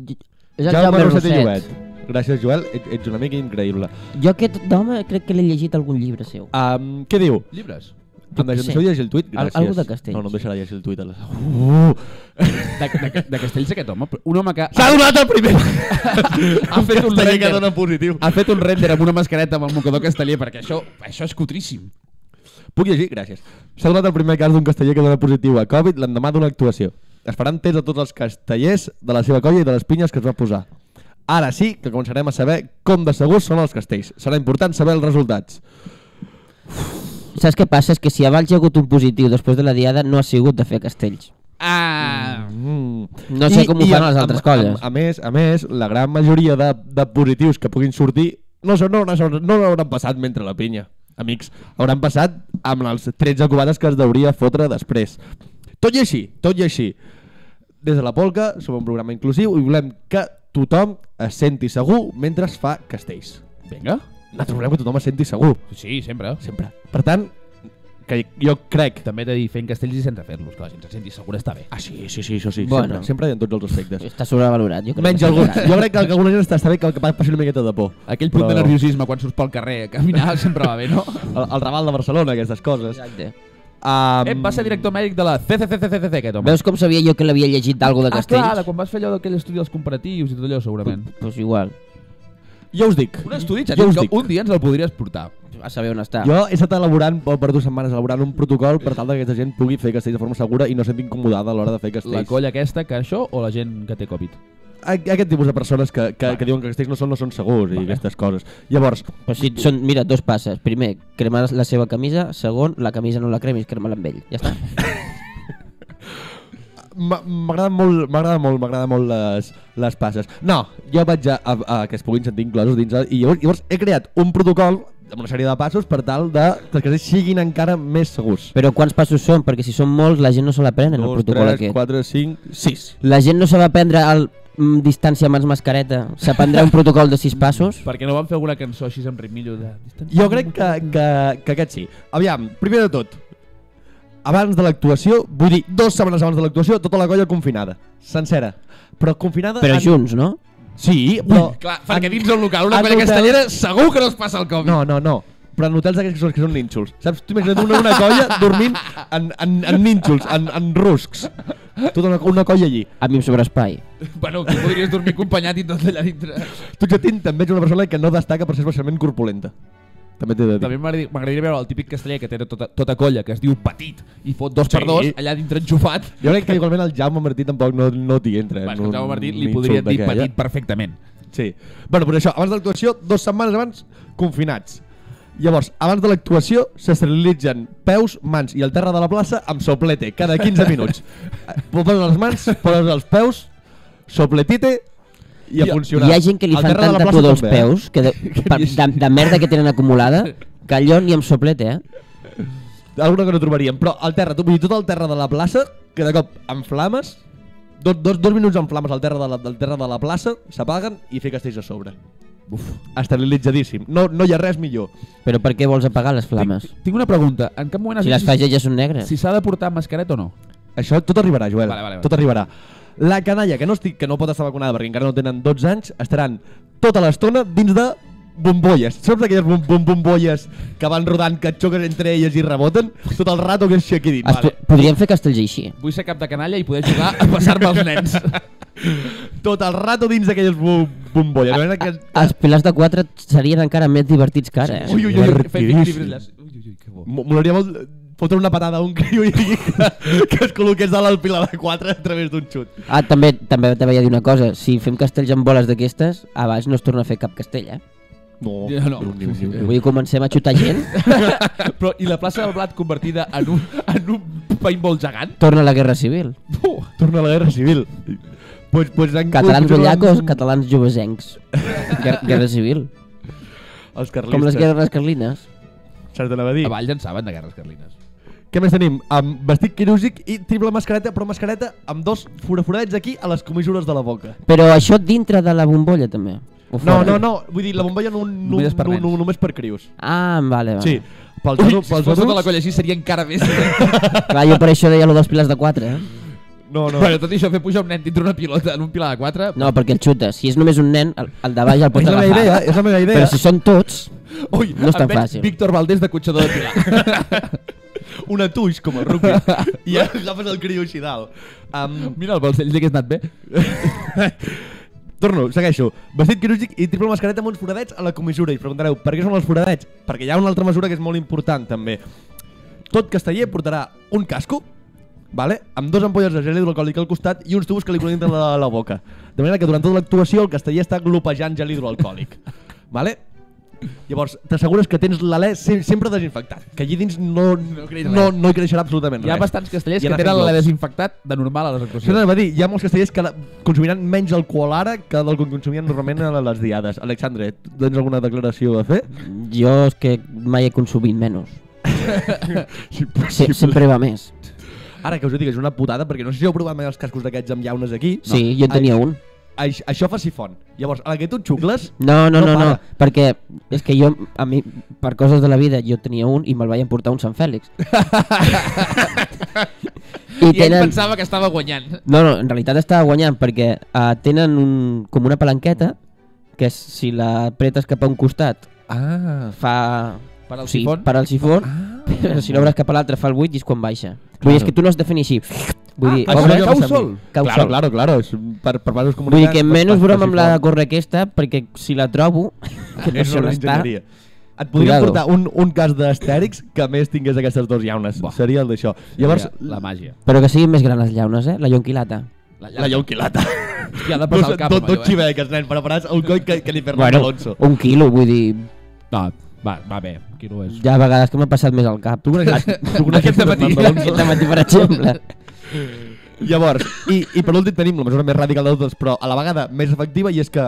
S3: És el
S2: Jaume
S3: Jaume
S2: Roset i
S3: Roset.
S2: Llobet. Gràcies, Joel, et, ets un amic increïble.
S3: Jo aquest d'home crec que l'he llegit a algun llibre seu.
S2: Um, què diu?
S1: Llibres.
S2: Em deixa, em deixeu llegir el tuit?
S3: Al-
S2: Gràcies.
S3: algú de Castells. Uh.
S2: No, no em deixarà llegir el tuit. ara.
S1: De, de, de Castells aquest home, però un home que
S2: S'ha donat el
S3: <laughs>
S2: primer!
S1: ha fet un
S2: Casteller que
S1: render.
S2: dona positiu.
S1: ha fet un render amb una mascareta amb el mocador casteller, perquè això, això és cutríssim.
S2: Puc llegir? Gràcies. S'ha donat el primer cas d'un casteller que dona positiu a Covid l'endemà d'una actuació. Es faran tests a tots els castellers de la seva colla i de les pinyes que es va posar. Ara sí que començarem a saber com de segurs són els castells. Serà important saber els resultats.
S3: Saps què passa? És que si abans hi ha hagut un positiu després de la diada, no ha sigut de fer castells.
S1: Ah,
S2: Mm.
S3: No sé com ho fan les altres colles.
S2: A, a, més, a més, la gran majoria de, de positius que puguin sortir no, són, no, no, no hauran passat mentre la pinya, amics. Hauran passat amb els 13 cubades que es deuria fotre després. Tot i així, tot i així, des de la Polca som un programa inclusiu i volem que tothom es senti segur mentre es fa castells.
S1: vinga.
S2: Nosaltres volem que tothom es senti segur,
S1: Sí, sempre.
S2: sempre. Per tant, que jo crec...
S1: També he de dir fent castells i sense fer-los, que la gent se senti segura està bé.
S2: Ah, sí, sí, sí, això sí.
S3: Bueno.
S2: Sempre, sempre i en tots els
S3: <laughs>
S2: aspectes.
S3: Està sobrevalorat, jo crec.
S2: Menys
S3: que està
S2: alguns.
S3: sobrevalorat.
S2: Jo crec que alguna gent està, està bé que el que passi una miqueta de por.
S1: Aquell punt
S2: Però-
S1: de nerviosisme quan surts pel carrer a <laughs> caminar sempre va bé, no?
S2: El, el Raval de Barcelona, aquestes coses.
S3: Exacte.
S2: Um,
S1: Eh, va ser director mèdic de la CCCCCC aquest home.
S3: Veus com sabia jo que l'havia llegit d'algo de
S1: ah, clar, de
S3: castells?
S1: quan vas fer allò d'aquell estudi dels comparatius i tot allò, segurament.
S3: Pues igual.
S2: Jo us dic.
S1: Un estudi, ja
S2: Jo us
S1: que
S2: dic.
S1: un dia ens el podries portar.
S3: A saber on està.
S2: Jo he estat elaborant, o per dues setmanes, elaborant un protocol per tal que aquesta gent pugui fer castells de forma segura i no se senti incomodada a l'hora de fer
S1: La
S2: castells.
S1: colla aquesta, que això, o la gent que té Covid?
S2: A- Aquest tipus de persones que, que, que diuen que castells no són, no són segurs i aquestes coses. Llavors,
S3: Però si són, mira, dos passes. Primer, cremar la seva camisa. Segon, la camisa no la cremis, crema-la amb ell. Ja
S2: <laughs>
S3: està.
S2: M'a- M'agrada molt, m'agrada molt, m'agrada molt les, les passes. No, jo vaig a, a, a que es puguin sentir inclosos dins... El, I llavors, llavors he creat un protocol amb una sèrie de passos per tal de que els castells siguin encara més segurs.
S3: Però quants passos són? Perquè si són molts, la gent no se l'aprèn en el
S2: Dos,
S3: protocol
S2: tres,
S3: aquest.
S2: quatre, cinc, sis.
S3: La gent no se va prendre el mm, distància mans mascareta. S'aprendrà un protocol de sis
S2: <laughs>
S3: passos.
S1: Perquè no van fer alguna cançó així amb ritmillo de...
S2: Jo crec que, que, que aquest sí. Aviam, primer de tot, abans de l'actuació, vull dir, dues setmanes abans de l'actuació, tota la colla confinada, sencera. Però confinada...
S3: Però
S2: en-
S3: junts, no?
S2: Sí, però...
S1: Clar, perquè dins el local, una
S2: en
S1: colla
S2: hotels-
S1: castellera, segur que no es passa el Covid.
S2: No, no, no. Però en hotels d'aquests que són, que són nínxols. Saps? Tu imagina't una, una colla dormint en, en, en nínxols, en, en ruscs. Tota una, una colla allí.
S3: A mi em sobra espai.
S1: Bueno, tu podries dormir acompanyat i tot allà dintre.
S2: Tu ja tinc també ets una persona que no destaca per ser especialment corpulenta. També t'he de dir.
S1: També m'agradi- m'agradaria veure el típic casteller que té tota, tota colla, que es diu Petit, i fot dos
S2: Sí.
S1: per dos allà dintre enxufat.
S2: Jo crec que igualment el Jaume Martí tampoc no, no t'hi entra.
S1: Va, és
S2: en
S1: que el
S2: un
S1: Jaume Martí li
S2: insult
S1: podrien dir
S2: d'aquella.
S1: Petit perfectament.
S2: Sí. Bueno, però això, abans de l'actuació, dues setmanes abans, confinats. Llavors, abans de l'actuació, s'esterilitzen peus, mans i el terra de la plaça amb soplete, cada
S3: <laughs>
S2: 15 minuts. Eh, Poses les mans, poses els peus, sopletite i a
S1: Hi ha-
S2: funcionar.
S3: Hi ha gent que li
S2: El
S3: fan
S2: terra de la
S3: tanta
S2: plaça
S3: pudor als
S2: també, eh?
S3: peus que de,
S2: <laughs>
S3: per, de, de merda que tenen acumulada que allò ni amb soplete, eh?
S2: Alguna que no trobaríem, però el terra, tu- vull dir, tot el terra de la plaça, que de cop en flames, dos, dos, dos minuts en flames al terra de la, del terra de la plaça, s'apaguen i fer castells a sobre. Uf, esterilitzadíssim. No, no hi ha res millor.
S3: Però per què vols apagar les flames?
S1: Tinc, tinc una pregunta. En cap moment has
S3: Si les
S1: dit
S3: faixes ja són negres.
S1: si s'ha de portar mascareta o no?
S2: Això tot arribarà, Joel.
S1: Vale, vale, vale.
S2: Tot arribarà. La canalla, que no, estic, que no pot estar vacunada perquè encara no tenen 12 anys, estaran tota l'estona dins de bombolles. Saps aquelles bom bom bombolles que van rodant, que et xoquen entre elles i reboten? Tot el rato que és aquí dins.
S3: Es, po-
S2: Vale.
S3: podríem fer castells així.
S1: Vull ser cap de canalla i poder jugar a passar-me els
S3: <laughs>
S1: nens.
S2: Tot el rato dins d'aquelles bom bombolles. A, veure que...
S3: Els pilars de quatre serien encara més divertits que ara, eh?
S1: Ui, ui, ui, ui, fent
S2: Divertidíssim.
S1: equilibri. les- Ui, ui, ui, que bo.
S2: Mo- Molaria molt fotre una patada a un criu i que, que es col·loqués dalt al pilar de 4 a través d'un xut.
S3: Ah, també també te vaig dir una cosa. Si fem castells amb boles d'aquestes, abans no es torna a fer cap castell, eh?
S2: No,
S1: Ja, no.
S2: Ni, un- ni, ni, ni.
S3: Vull dir, comencem a xutar gent,
S1: Però, i la plaça del Blat convertida en un, en un paintball gegant?
S3: torna la guerra
S2: <laughs>
S3: civil.
S1: Uh,
S2: Torna a la guerra civil. Pues, pues, han-
S3: Catalans
S2: continuant-
S3: bellacos, catalans jovesencs. Guer
S2: <laughs>
S3: guerra civil.
S2: Els
S3: Com les
S2: carlistes.
S3: guerres carlines.
S2: Saps de dir?
S1: a Valls en saben de guerres carlines.
S2: Què més tenim? Amb vestit quirúrgic i triple mascareta, però mascareta amb dos foraforats aquí a les comissures de la boca.
S3: Però això dintre de la bombolla, també.
S2: No,
S3: O fora?
S2: no, no, vull dir, la bombolla no, no,
S1: Només
S2: només,
S1: per
S2: per no,
S1: nens.
S2: no, només per crius.
S3: Ah, vale, vale.
S2: Sí, pels,
S1: Ui,
S2: adu-
S1: si fos
S2: pels
S1: tota la
S2: adults...
S1: colla així seria encara més.
S3: Clar, jo per això deia allò dels pilars de 4, eh?
S2: No, no.
S1: Però tot i això, fer pujar un nen dintre una pilota en un pilar de 4...
S3: No, perquè el xuta. Si és només un nen, el, el de baix el
S2: és
S3: pots
S2: la meva
S3: agafar.
S2: idea, eh? és la meva idea.
S3: Però si són tots...
S1: Ui,
S3: No és
S1: em
S3: tan
S1: veig
S3: fàcil.
S1: Víctor Valdés de cotxador de pilar.
S2: una tuix, com el <laughs> rugby, i agafes el criu així dalt. Um,
S1: Mira el balcells que has anat bé.
S2: <laughs> Torno, segueixo. Vestit quirúrgic i triple mascareta amb uns foradets a la comissura. I us preguntareu, per què són els foradets? Perquè hi ha una altra mesura que és molt important, també. Tot casteller portarà un casco, vale? amb dos ampolles de gel hidroalcohòlic al costat i uns tubos que li connecten a la, a la boca. De manera que durant tota l'actuació el casteller està glopejant gel hidroalcohòlic. Vale? Llavors, t'assegures que tens l'alè sem- sempre desinfectat, que allí dins no, no,
S1: creix
S2: no,
S1: res.
S2: no hi creixerà absolutament
S1: Hi ha
S2: res.
S1: bastants castellers
S2: I
S1: que
S2: anar
S1: tenen
S2: fent
S1: la
S2: globs.
S1: desinfectat de normal a les
S2: Això
S1: actuacions.
S2: anava a dir, hi ha molts castellers que la- consumiran menys alcohol ara que del que consumien normalment a les diades. Alexandre, tu tens alguna declaració a fer?
S3: Jo és que mai he consumit menys. Se, sempre va més.
S2: Ara que us ho dic, és una putada, perquè no sé si heu provat mai els cascos d'aquests amb llaunes aquí.
S3: Sí, jo en tenia
S2: Ai.
S3: un.
S2: Aix, això fa sifon. Llavors, a la que tu et xucles...
S3: No, no,
S2: No
S3: no, no,
S2: para.
S3: perquè és que jo, a mi, per coses de la vida, jo tenia un i me'l vaig emportar a un Sant Fèlix. <laughs> I tenen...
S1: que estava guanyant.
S3: No, no, en realitat estava guanyant perquè uh, tenen un, com una palanqueta que si la pretes cap a un costat
S2: Ah...
S3: fa...
S1: Per al
S3: sí,
S1: sifon?
S3: Per al sifon,
S2: Ah,
S3: però si l'obres cap a l'altre fa el buit i és quan baixa. Vull dir, és que tu no has de fer ni així. Vull dir,
S2: Ah, això
S3: obres-
S2: ja ho
S3: cau
S2: sap
S3: sol.
S2: mi.
S3: Cau
S2: claro,
S3: sol.
S2: claro, claro. és Per, per vasos
S3: Vull dir
S2: comunicants...
S3: que
S2: per-
S3: menys
S2: per-
S3: broma
S2: per
S3: amb la
S2: sifó.
S3: de córrer aquesta, perquè si la trobo, <laughs> que no
S2: És
S3: sé on
S2: una
S3: està,
S2: enginyeria. Et podria
S3: Cuidado.
S2: portar un, un cas d'astèrix que a més tingués aquestes dues llaunes.
S1: Buah.
S2: Seria el d'això. Llavors,
S1: la màgia.
S3: però que siguin més grans les llaunes, eh? La llonquilata.
S2: la llonquilata.
S1: Hi ha de passar el cap.
S2: Tot,
S1: amb
S2: tot
S1: allò, eh?
S2: xiveques, nen, preparats el coll que, que li fer bueno.
S3: Bueno,
S2: Alonso.
S3: un quilo, vull dir,
S1: No, va, va bé. Qui no és?
S3: ja a vegades que m'ha passat més al cap.
S2: Tu coneixes, tu coneixes
S1: Aquest dematí.
S2: Fernando Alonso?
S3: Aquest matí, per exemple.
S2: Llavors, i, i per últim tenim la mesura més radical de totes, però a la vegada més efectiva, i és que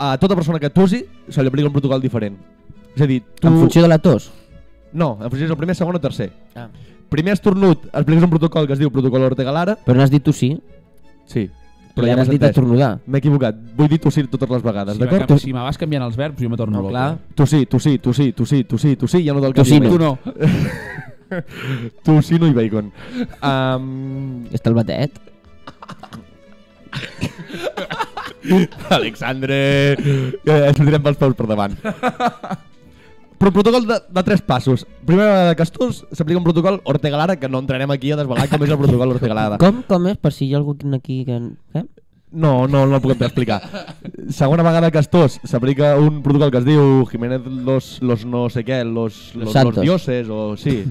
S2: a tota persona que tosi se li aplica un protocol diferent. És a dir, tu...
S3: En funció de la tos.
S2: No, en funció és el primer, segon o tercer.
S3: Ah.
S2: Primer estornut, apliques un protocol que es diu protocol Ortega Lara.
S3: Però n'has dit tu sí,
S2: Sí.
S3: però ja
S2: m'has
S3: n'has dit
S2: entès.
S3: estornudar.
S2: M'he equivocat. Vull dir tossir totes les vegades,
S1: Si,
S2: d'acord?
S1: va, si me vas canviant els verbs, jo me torno
S3: No,
S1: loco. eh?
S3: clar.
S2: Tossir, tossir, tossir, tossir, tossir, tossir, ja no del
S3: Tocino.
S1: Tu
S2: cap.
S1: no. <laughs>
S2: Tossino i bacon. Um,
S3: Està el batet.
S2: <laughs> Alexandre, eh, ens fotrem pels peus per davant. Però protocol de, de tres passos. Primera vegada que estus, s'aplica un protocol Ortega Lara, que no entrarem aquí a desvelar com és el protocol Ortega Lara.
S3: Com, com és? Per si hi ha algú aquí que... Eh?
S2: No, no, no el puc explicar. Segona vegada que estos, s'aplica un protocol que es diu Jiménez los, los no sé què, los, los, los,
S3: santos.
S2: dioses, o
S3: <laughs>
S2: sí,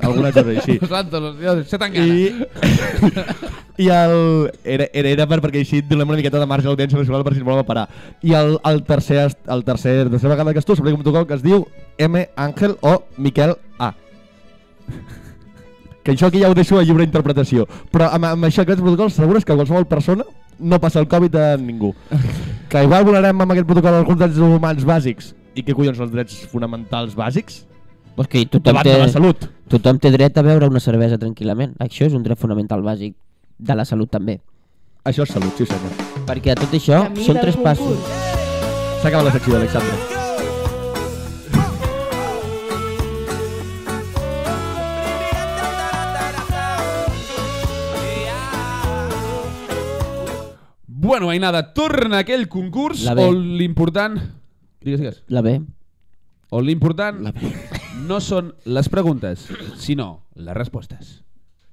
S2: alguna cosa així.
S1: Los santos, los dioses, se tan gana.
S2: I, i <laughs> el, era, era, era per, perquè així et donem una miqueta de marge a l'audiència nacional per si ens volen parar. I el, el tercer, est- el tercer, la tercera vegada que es tu, s'aplica un protocol que es diu M. Àngel o Miquel A. Que això aquí ja ho deixo a lliure interpretació. Però amb, amb això, aquests protocols, segures que qualsevol persona no passa el Covid a ningú. Que igual volarem amb aquest protocol alguns drets humans bàsics. I què collons són els drets fonamentals bàsics?
S3: Pues que tothom
S2: Davant
S3: té,
S2: de la salut.
S3: tothom té dret a beure una cervesa tranquil·lament. Això és un dret fonamental bàsic de la salut també.
S2: Això és salut, sí senyor.
S3: Perquè tot això
S4: Camí
S3: són
S4: del
S3: tres
S4: concurs.
S3: passos.
S2: S'acaba la secció, Alexandre.
S1: Bueno, Ainada, torna a aquell concurs
S3: La B.
S1: on l'important... Digues, digues.
S3: La B.
S1: On l'important no són les preguntes, sinó les respostes.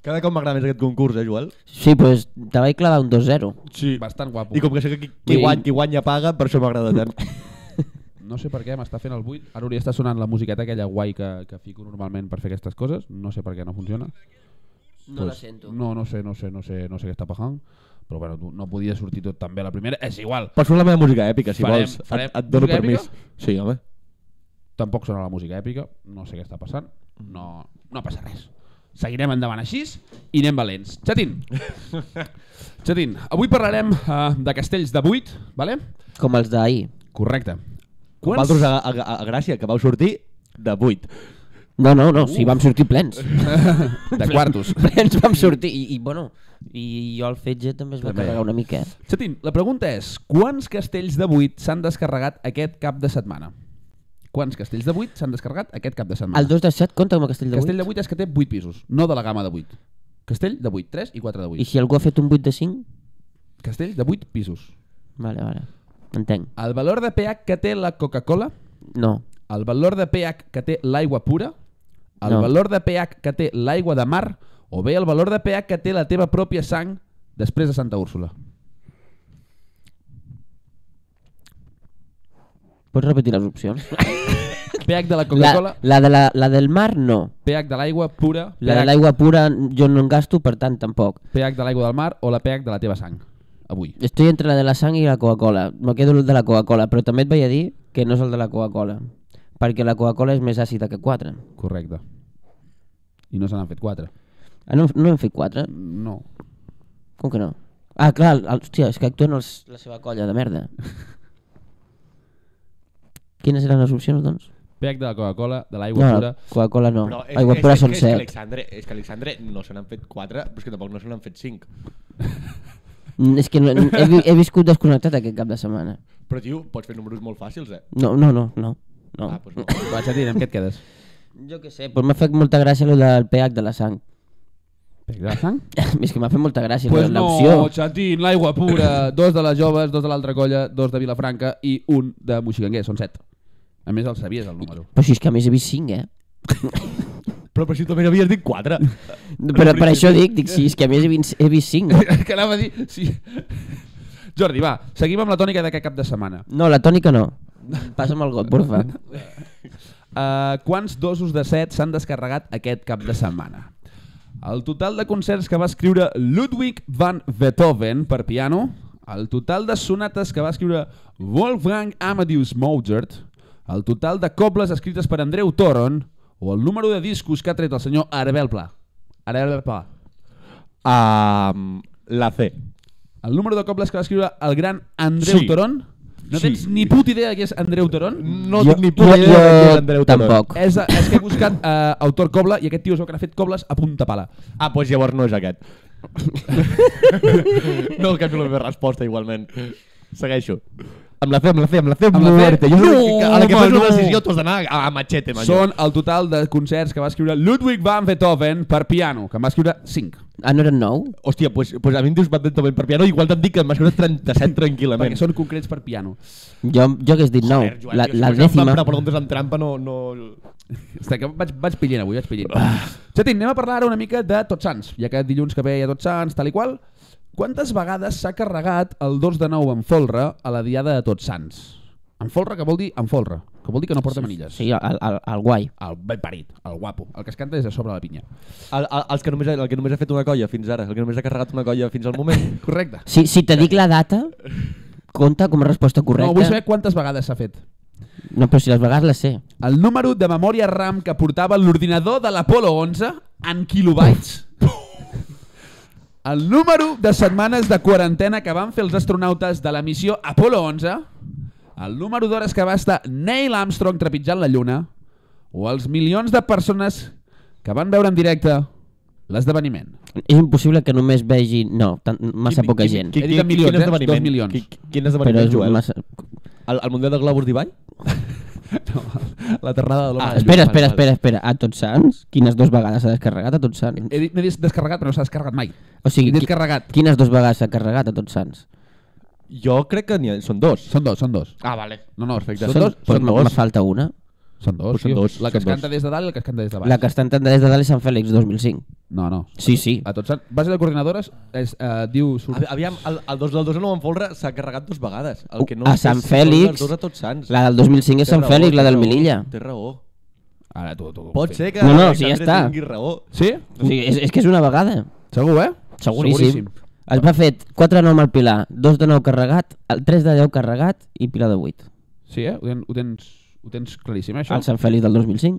S2: Cada cop m'agrada més aquest concurs, eh, Joel?
S3: Sí, pues te vaig clavar un 2-0.
S2: Sí.
S1: Bastant guapo.
S2: I com que sé que qui, qui,
S3: Sí.
S2: guany, qui guanya paga, per això m'agrada tant.
S1: No sé per què m'està fent el buit. Ara hauria d'estar sonant la musiqueta aquella guai que, que fico normalment per fer aquestes coses. No sé per què no funciona.
S3: No la sento.
S1: No, no sé, no sé, no sé, no sé què està passant. Però bueno, tu- no podia sortir tot tan bé la primera. És igual.
S2: <laughs> Pots fer la meva música èpica, si
S1: Farem-
S2: vols.
S1: farem
S2: et, et dono
S1: música
S2: permís.
S1: èpica?
S2: Sí, home.
S1: Tampoc sona la música èpica. No sé què està passant. No, no passa res. Seguirem endavant així i anem valents. Xatín. Xatín, avui parlarem uh, de castells de buit, vale?
S3: Com els d'ahir.
S1: Correcte.
S2: Quants? Valtros a, a, a, a Gràcia, que vau sortir de 8.
S3: No, no, no, sí, vam sortir plens.
S1: <laughs>
S3: <laughs>
S1: de quartos.
S3: plens vam sortir. I, i bueno, i jo el fetge també es va
S1: També.
S3: carregar una mica. eh?
S1: Xatín, la pregunta és, quants castells de 8 s'han descarregat aquest cap de setmana? Quants castells de 8 s'han descarregat aquest cap de setmana?
S3: El 2 de 7 compta com a castell de 8.
S1: Castell de 8 és que té 8 pisos, no de la gamma de 8. Castell de 8, 3 i 4 de 8.
S3: I si algú ha fet un 8 de 5?
S1: Castell de 8 pisos.
S3: Vale, vale. Entenc.
S1: El valor de pH que té la Coca-Cola,
S3: No.
S1: el valor de pH que té l'aigua pura, el no.
S3: No.
S1: valor de pH que té l'aigua de mar o bé el valor de pH que té la teva pròpia sang després de Santa
S3: <laughs>
S1: Úrsula.
S3: Pots repetir les opcions?
S1: pH de la Coca-Cola,
S3: La, la, de la, la del mar, no.
S1: pH de l'aigua pura,
S3: La de
S1: pH,
S3: l'aigua pura jo no en gasto, per tant, tampoc.
S1: pH de l'aigua del mar o la pH de la teva sang. Avui.
S3: Estoy entre la de la sang i la Coca-Cola. Me quedo el de la Coca-Cola, però també et vaig a dir que no és el de la Coca-Cola. Perquè la Coca-Cola és més àcida que 4.
S1: Correcte. I no se n'han fet quatre.
S3: Ah, no, no hem fet 4?
S1: No.
S3: Com que no? Ah, clar, el, hòstia, és que actuen els, la seva colla de merda. Quines eren les opcions, doncs?
S1: pH de la Coca-Cola, de l'aigua
S3: No,
S1: pura...
S3: no, Coca-Cola no.
S2: Però és,
S3: Aigua
S2: és,
S3: pura
S2: és,
S3: són
S2: és, que
S3: 7.
S2: Alexandre, és que Alexandre no se n'han fet 4, però és que tampoc no se n'han fet 5.
S3: Mm, És que no, he, vi- he viscut desconnectat aquest cap de setmana.
S2: Però, tio, pots fer números molt fàcils, eh?
S3: No, no, no, no. no.
S2: Ah, doncs no.
S1: Va, Xatín, amb què et quedes?
S3: Jo què sé, doncs m'ha fet molta gràcia el del pH de la sang.
S1: pH de la sang?
S3: <laughs> és que m'ha fet molta gràcia
S1: Pues
S3: la- l'opció.
S1: no, Xatín, l'aigua pura, dos de les joves, dos de l'altra colla, dos de Vilafranca i un de Moixiganguer, són set. A més, el sabies, el número.
S3: Però si és que a més he vist 5, eh?
S2: Però, però si tu també havies dit 4.
S3: Però per això dic, dic, sí, és que a més he vist, he vist 5.
S1: <laughs> que anava a dir... Sí. Jordi, va, seguim amb la tònica d'aquest cap de setmana.
S3: No, la tònica no. Passa'm el
S2: <laughs>
S3: got, porfa.
S1: Uh, quants dosos de set s'han descarregat aquest cap de setmana? El total de concerts que va escriure Ludwig van Beethoven per piano, el total de sonates que va escriure Wolfgang Amadeus Mozart, el total de cobles escrites per Andreu Toron o el número de discos que ha tret el senyor Arbel Pla. Arbel Pla.
S2: Um, la C.
S1: El número de cobles que va escriure el gran Andreu
S2: Sí.
S1: Toron? No
S2: Sí.
S1: tens ni puta idea de qui és Andreu Toron?
S2: No tinc ni puta idea de qui és Andreu Torón.
S3: tampoc.
S1: És, és que he buscat eh, autor coble i aquest tio és el que n'ha fet cobles a punta pala.
S2: Ah, doncs llavors no és <laughs> aquest. no canvio la meva resposta, igualment. Segueixo. Amb la fe, amb la fe, amb la fe, amb,
S1: Amb la fe?
S2: muerte. Jo no,
S1: No,
S2: a la que fas
S1: home,
S2: una
S1: no.
S2: decisió t'has d'anar a, a machete, manyo.
S1: Són el total de concerts que va escriure Ludwig van Beethoven per piano, que en va escriure 5.
S3: Ah, no eren 9?
S2: Hòstia, pues, pues a mi em dius Batman Tomen per piano, igual te'n dic que m'ha escrit 37 tranquil·lament.
S1: Perquè són concrets per piano.
S3: Jo, jo hagués dit 9.
S2: Joder, Joan,
S3: la,
S2: tio, si
S3: la
S2: fos en plan
S3: dècima...
S2: Per preguntes amb trampa no... no...
S1: Està, que vaig, vaig pillint avui, vaig pillint. Xatín, anem a parlar ara una mica de Tots Sants, ja que dilluns que ve hi ha Tots Sants, tal i qual. Quantes vegades s'ha carregat el 2 de 9 en folre a la diada de Tots Sants? En folre, que vol dir en folre, que vol dir que no porta manilles.
S3: Sí, el, el, el guai.
S1: El ben parit, el guapo, el que es canta des de sobre la pinya.
S2: El, el, els que només, ha- el que només ha fet una colla fins ara, el que només ha carregat una colla fins al moment.
S1: Correcte.
S3: Si, si te dic la data, compta com a resposta
S1: No, vull
S3: correcta.
S1: saber quantes vegades s'ha fet.
S3: No, però si les vegades les sé.
S1: El número de memòria RAM que portava l'ordinador de l'Apollo 11 en kilobytes. El número de setmanes de quarantena que van fer els astronautes de la missió Apollo 11. El número d'hores que va estar Neil Armstrong trepitjant la Lluna. O els milions de persones que van veure en directe l'esdeveniment.
S3: És impossible que només vegi... No, tan, massa
S1: Quin-
S3: poca
S1: quin-
S3: gent.
S1: quin- He dit en milions, eh? Dos milions.
S2: Qui, qui- quin
S3: Però
S2: esdeveniment,
S3: és
S2: Joel?
S3: massa...
S2: El, el Mundial de Globus d'Ibai?
S1: No, la terrada de l'home.
S2: Ah,
S1: de
S3: Espera,
S2: Vale, vale.
S3: espera, espera, espera. A Tots Sants? Quines dues vegades s'ha descarregat a Tots Sants?
S1: Lluna. He dit, m'he descarregat, però no s'ha descarregat mai.
S3: O
S1: He
S3: sigui,
S1: dit
S3: qui,
S1: carregat.
S3: quines dues vegades s'ha carregat a Tots Sants?
S2: Jo crec que n'hi ha... Són dos.
S1: Són dos, són dos.
S2: Ah, vale.
S1: No, no, perfecte.
S2: Són
S1: Són dos,
S3: Pues
S2: són
S3: me,
S2: dos.
S3: me falta una.
S1: Són dos,
S2: Pues són
S1: tio.
S2: dos,
S1: La que es
S2: són dos.
S1: canta des de dalt i la que es canta des de baix.
S3: La que està en Tandarès de Dalt i Sant Fèlix 2005.
S1: No, no.
S3: Sí, sí.
S1: A tots, base de coordinadores és, eh, diu... Sur...
S2: Aviam, el, el dos del dos no en folre s'ha carregat dues vegades. El que no
S3: Uh, A
S2: és-
S3: Sant
S2: són
S3: Fèlix.
S2: Els dos a tots sants.
S3: La del 2005 és
S2: Té
S3: Sant
S2: raó,
S3: Fèlix, la
S2: té
S3: del
S2: raó,
S3: Melilla.
S2: Té raó.
S1: Ara, tu, tu.
S2: Pot ser que
S3: No, no,
S2: Alexandre
S3: sí, ja està.
S2: tingui raó.
S1: Sí?
S3: O sigui, és, és que és una vegada.
S1: Segur, eh?
S3: Seguríssim. Es va fet 4 de 9 al Pilar, 2 de 9 carregat, el 3 de 10 carregat i Pilar de 8.
S1: Sí, eh? Ho, ten, ho, tens, ho tens claríssim, eh, això?
S3: Al Sant Fèlix del 2005.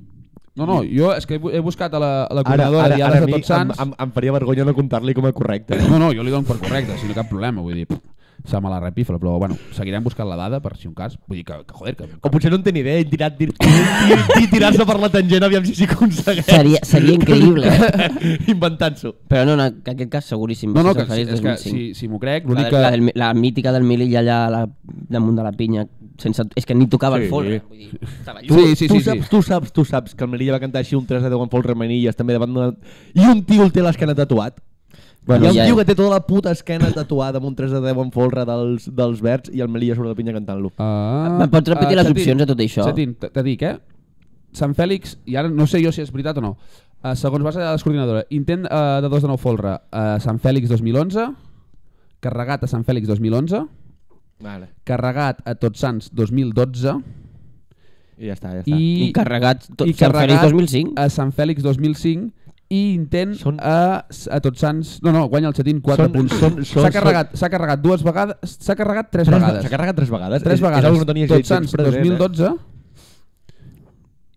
S1: No, no, jo és que he bu- he buscat a la, a la coordinadora ara, ara,
S2: a
S1: ara, de
S2: mi
S1: Tots Sants.
S2: Em, em, em faria vergonya no comptar-li com a correcte.
S1: No, no, jo li dono per correcte, si no cap problema, vull dir, pff, se me la repifla, però bueno, seguirem buscant la dada per si un cas, vull dir que, que joder, que...
S2: O potser no en té ni idea i tirar- dir- <laughs> dir- dir- tirar-se per la tangent aviam si s'hi aconsegueix
S3: Seria, seria increïble. eh?
S2: inventant-s'ho.
S3: Però no, no, en aquest cas seguríssim.
S1: No, no, que,
S3: Sant
S1: si,
S3: Fèlix
S1: és que
S3: 2005.
S1: si, si m'ho crec,
S3: La,
S1: l'únic
S3: del-
S1: que...
S3: la, del, la mítica del Melilla allà a la, damunt de la pinya, sense, és que ni tocava
S2: Sí.
S3: el folre.
S2: <laughs>
S3: Vull dir, estava lluny.
S1: Sí, sí,
S2: tu,
S1: sí, sí.
S2: saps, tu saps, tu saps que el Melilla va cantar així un 3 de 10 amb Pol Remenilles també davant d'una... I un tio el té l'esquena tatuat. Bueno, Hi ha un
S3: ja-
S2: tio que té tota la puta esquena tatuada amb un 3 de 10 en folre dels, dels verds i el Melilla sobre la pinya cantant-lo.
S1: Ah,
S3: Em pots repetir les
S1: Xatín,
S3: opcions de tot això?
S1: Xatín, te, te dic, eh? Sant Fèlix, i ara no sé jo si és veritat o no, uh, segons base de la descoordinadora, intent uh, de 2 de 9 folre a uh, Sant Fèlix 2011, carregat a Sant Fèlix 2011,
S2: Vale.
S1: carregat a Tots Sants 2012,
S2: I ja està, ja està.
S1: i,
S3: I carregat tot,
S1: i
S3: Sant Fèlix
S1: carregat
S3: 2005.
S1: a Sant Fèlix 2005 i intent
S2: Són-
S1: a, a Tots Sants... No, no, guanya el xatín 4
S2: Són-
S1: punts.
S2: són- són-
S1: S'ha carregat, s'ha carregat dues vegades... S'ha carregat tres,
S2: Tres
S1: vegades.
S2: S'ha carregat tres vegades.
S1: Tres
S2: És-
S1: vegades.
S2: És, algo que no tenies eh?
S1: Tots
S2: gens
S1: Sants
S2: present,
S1: 2012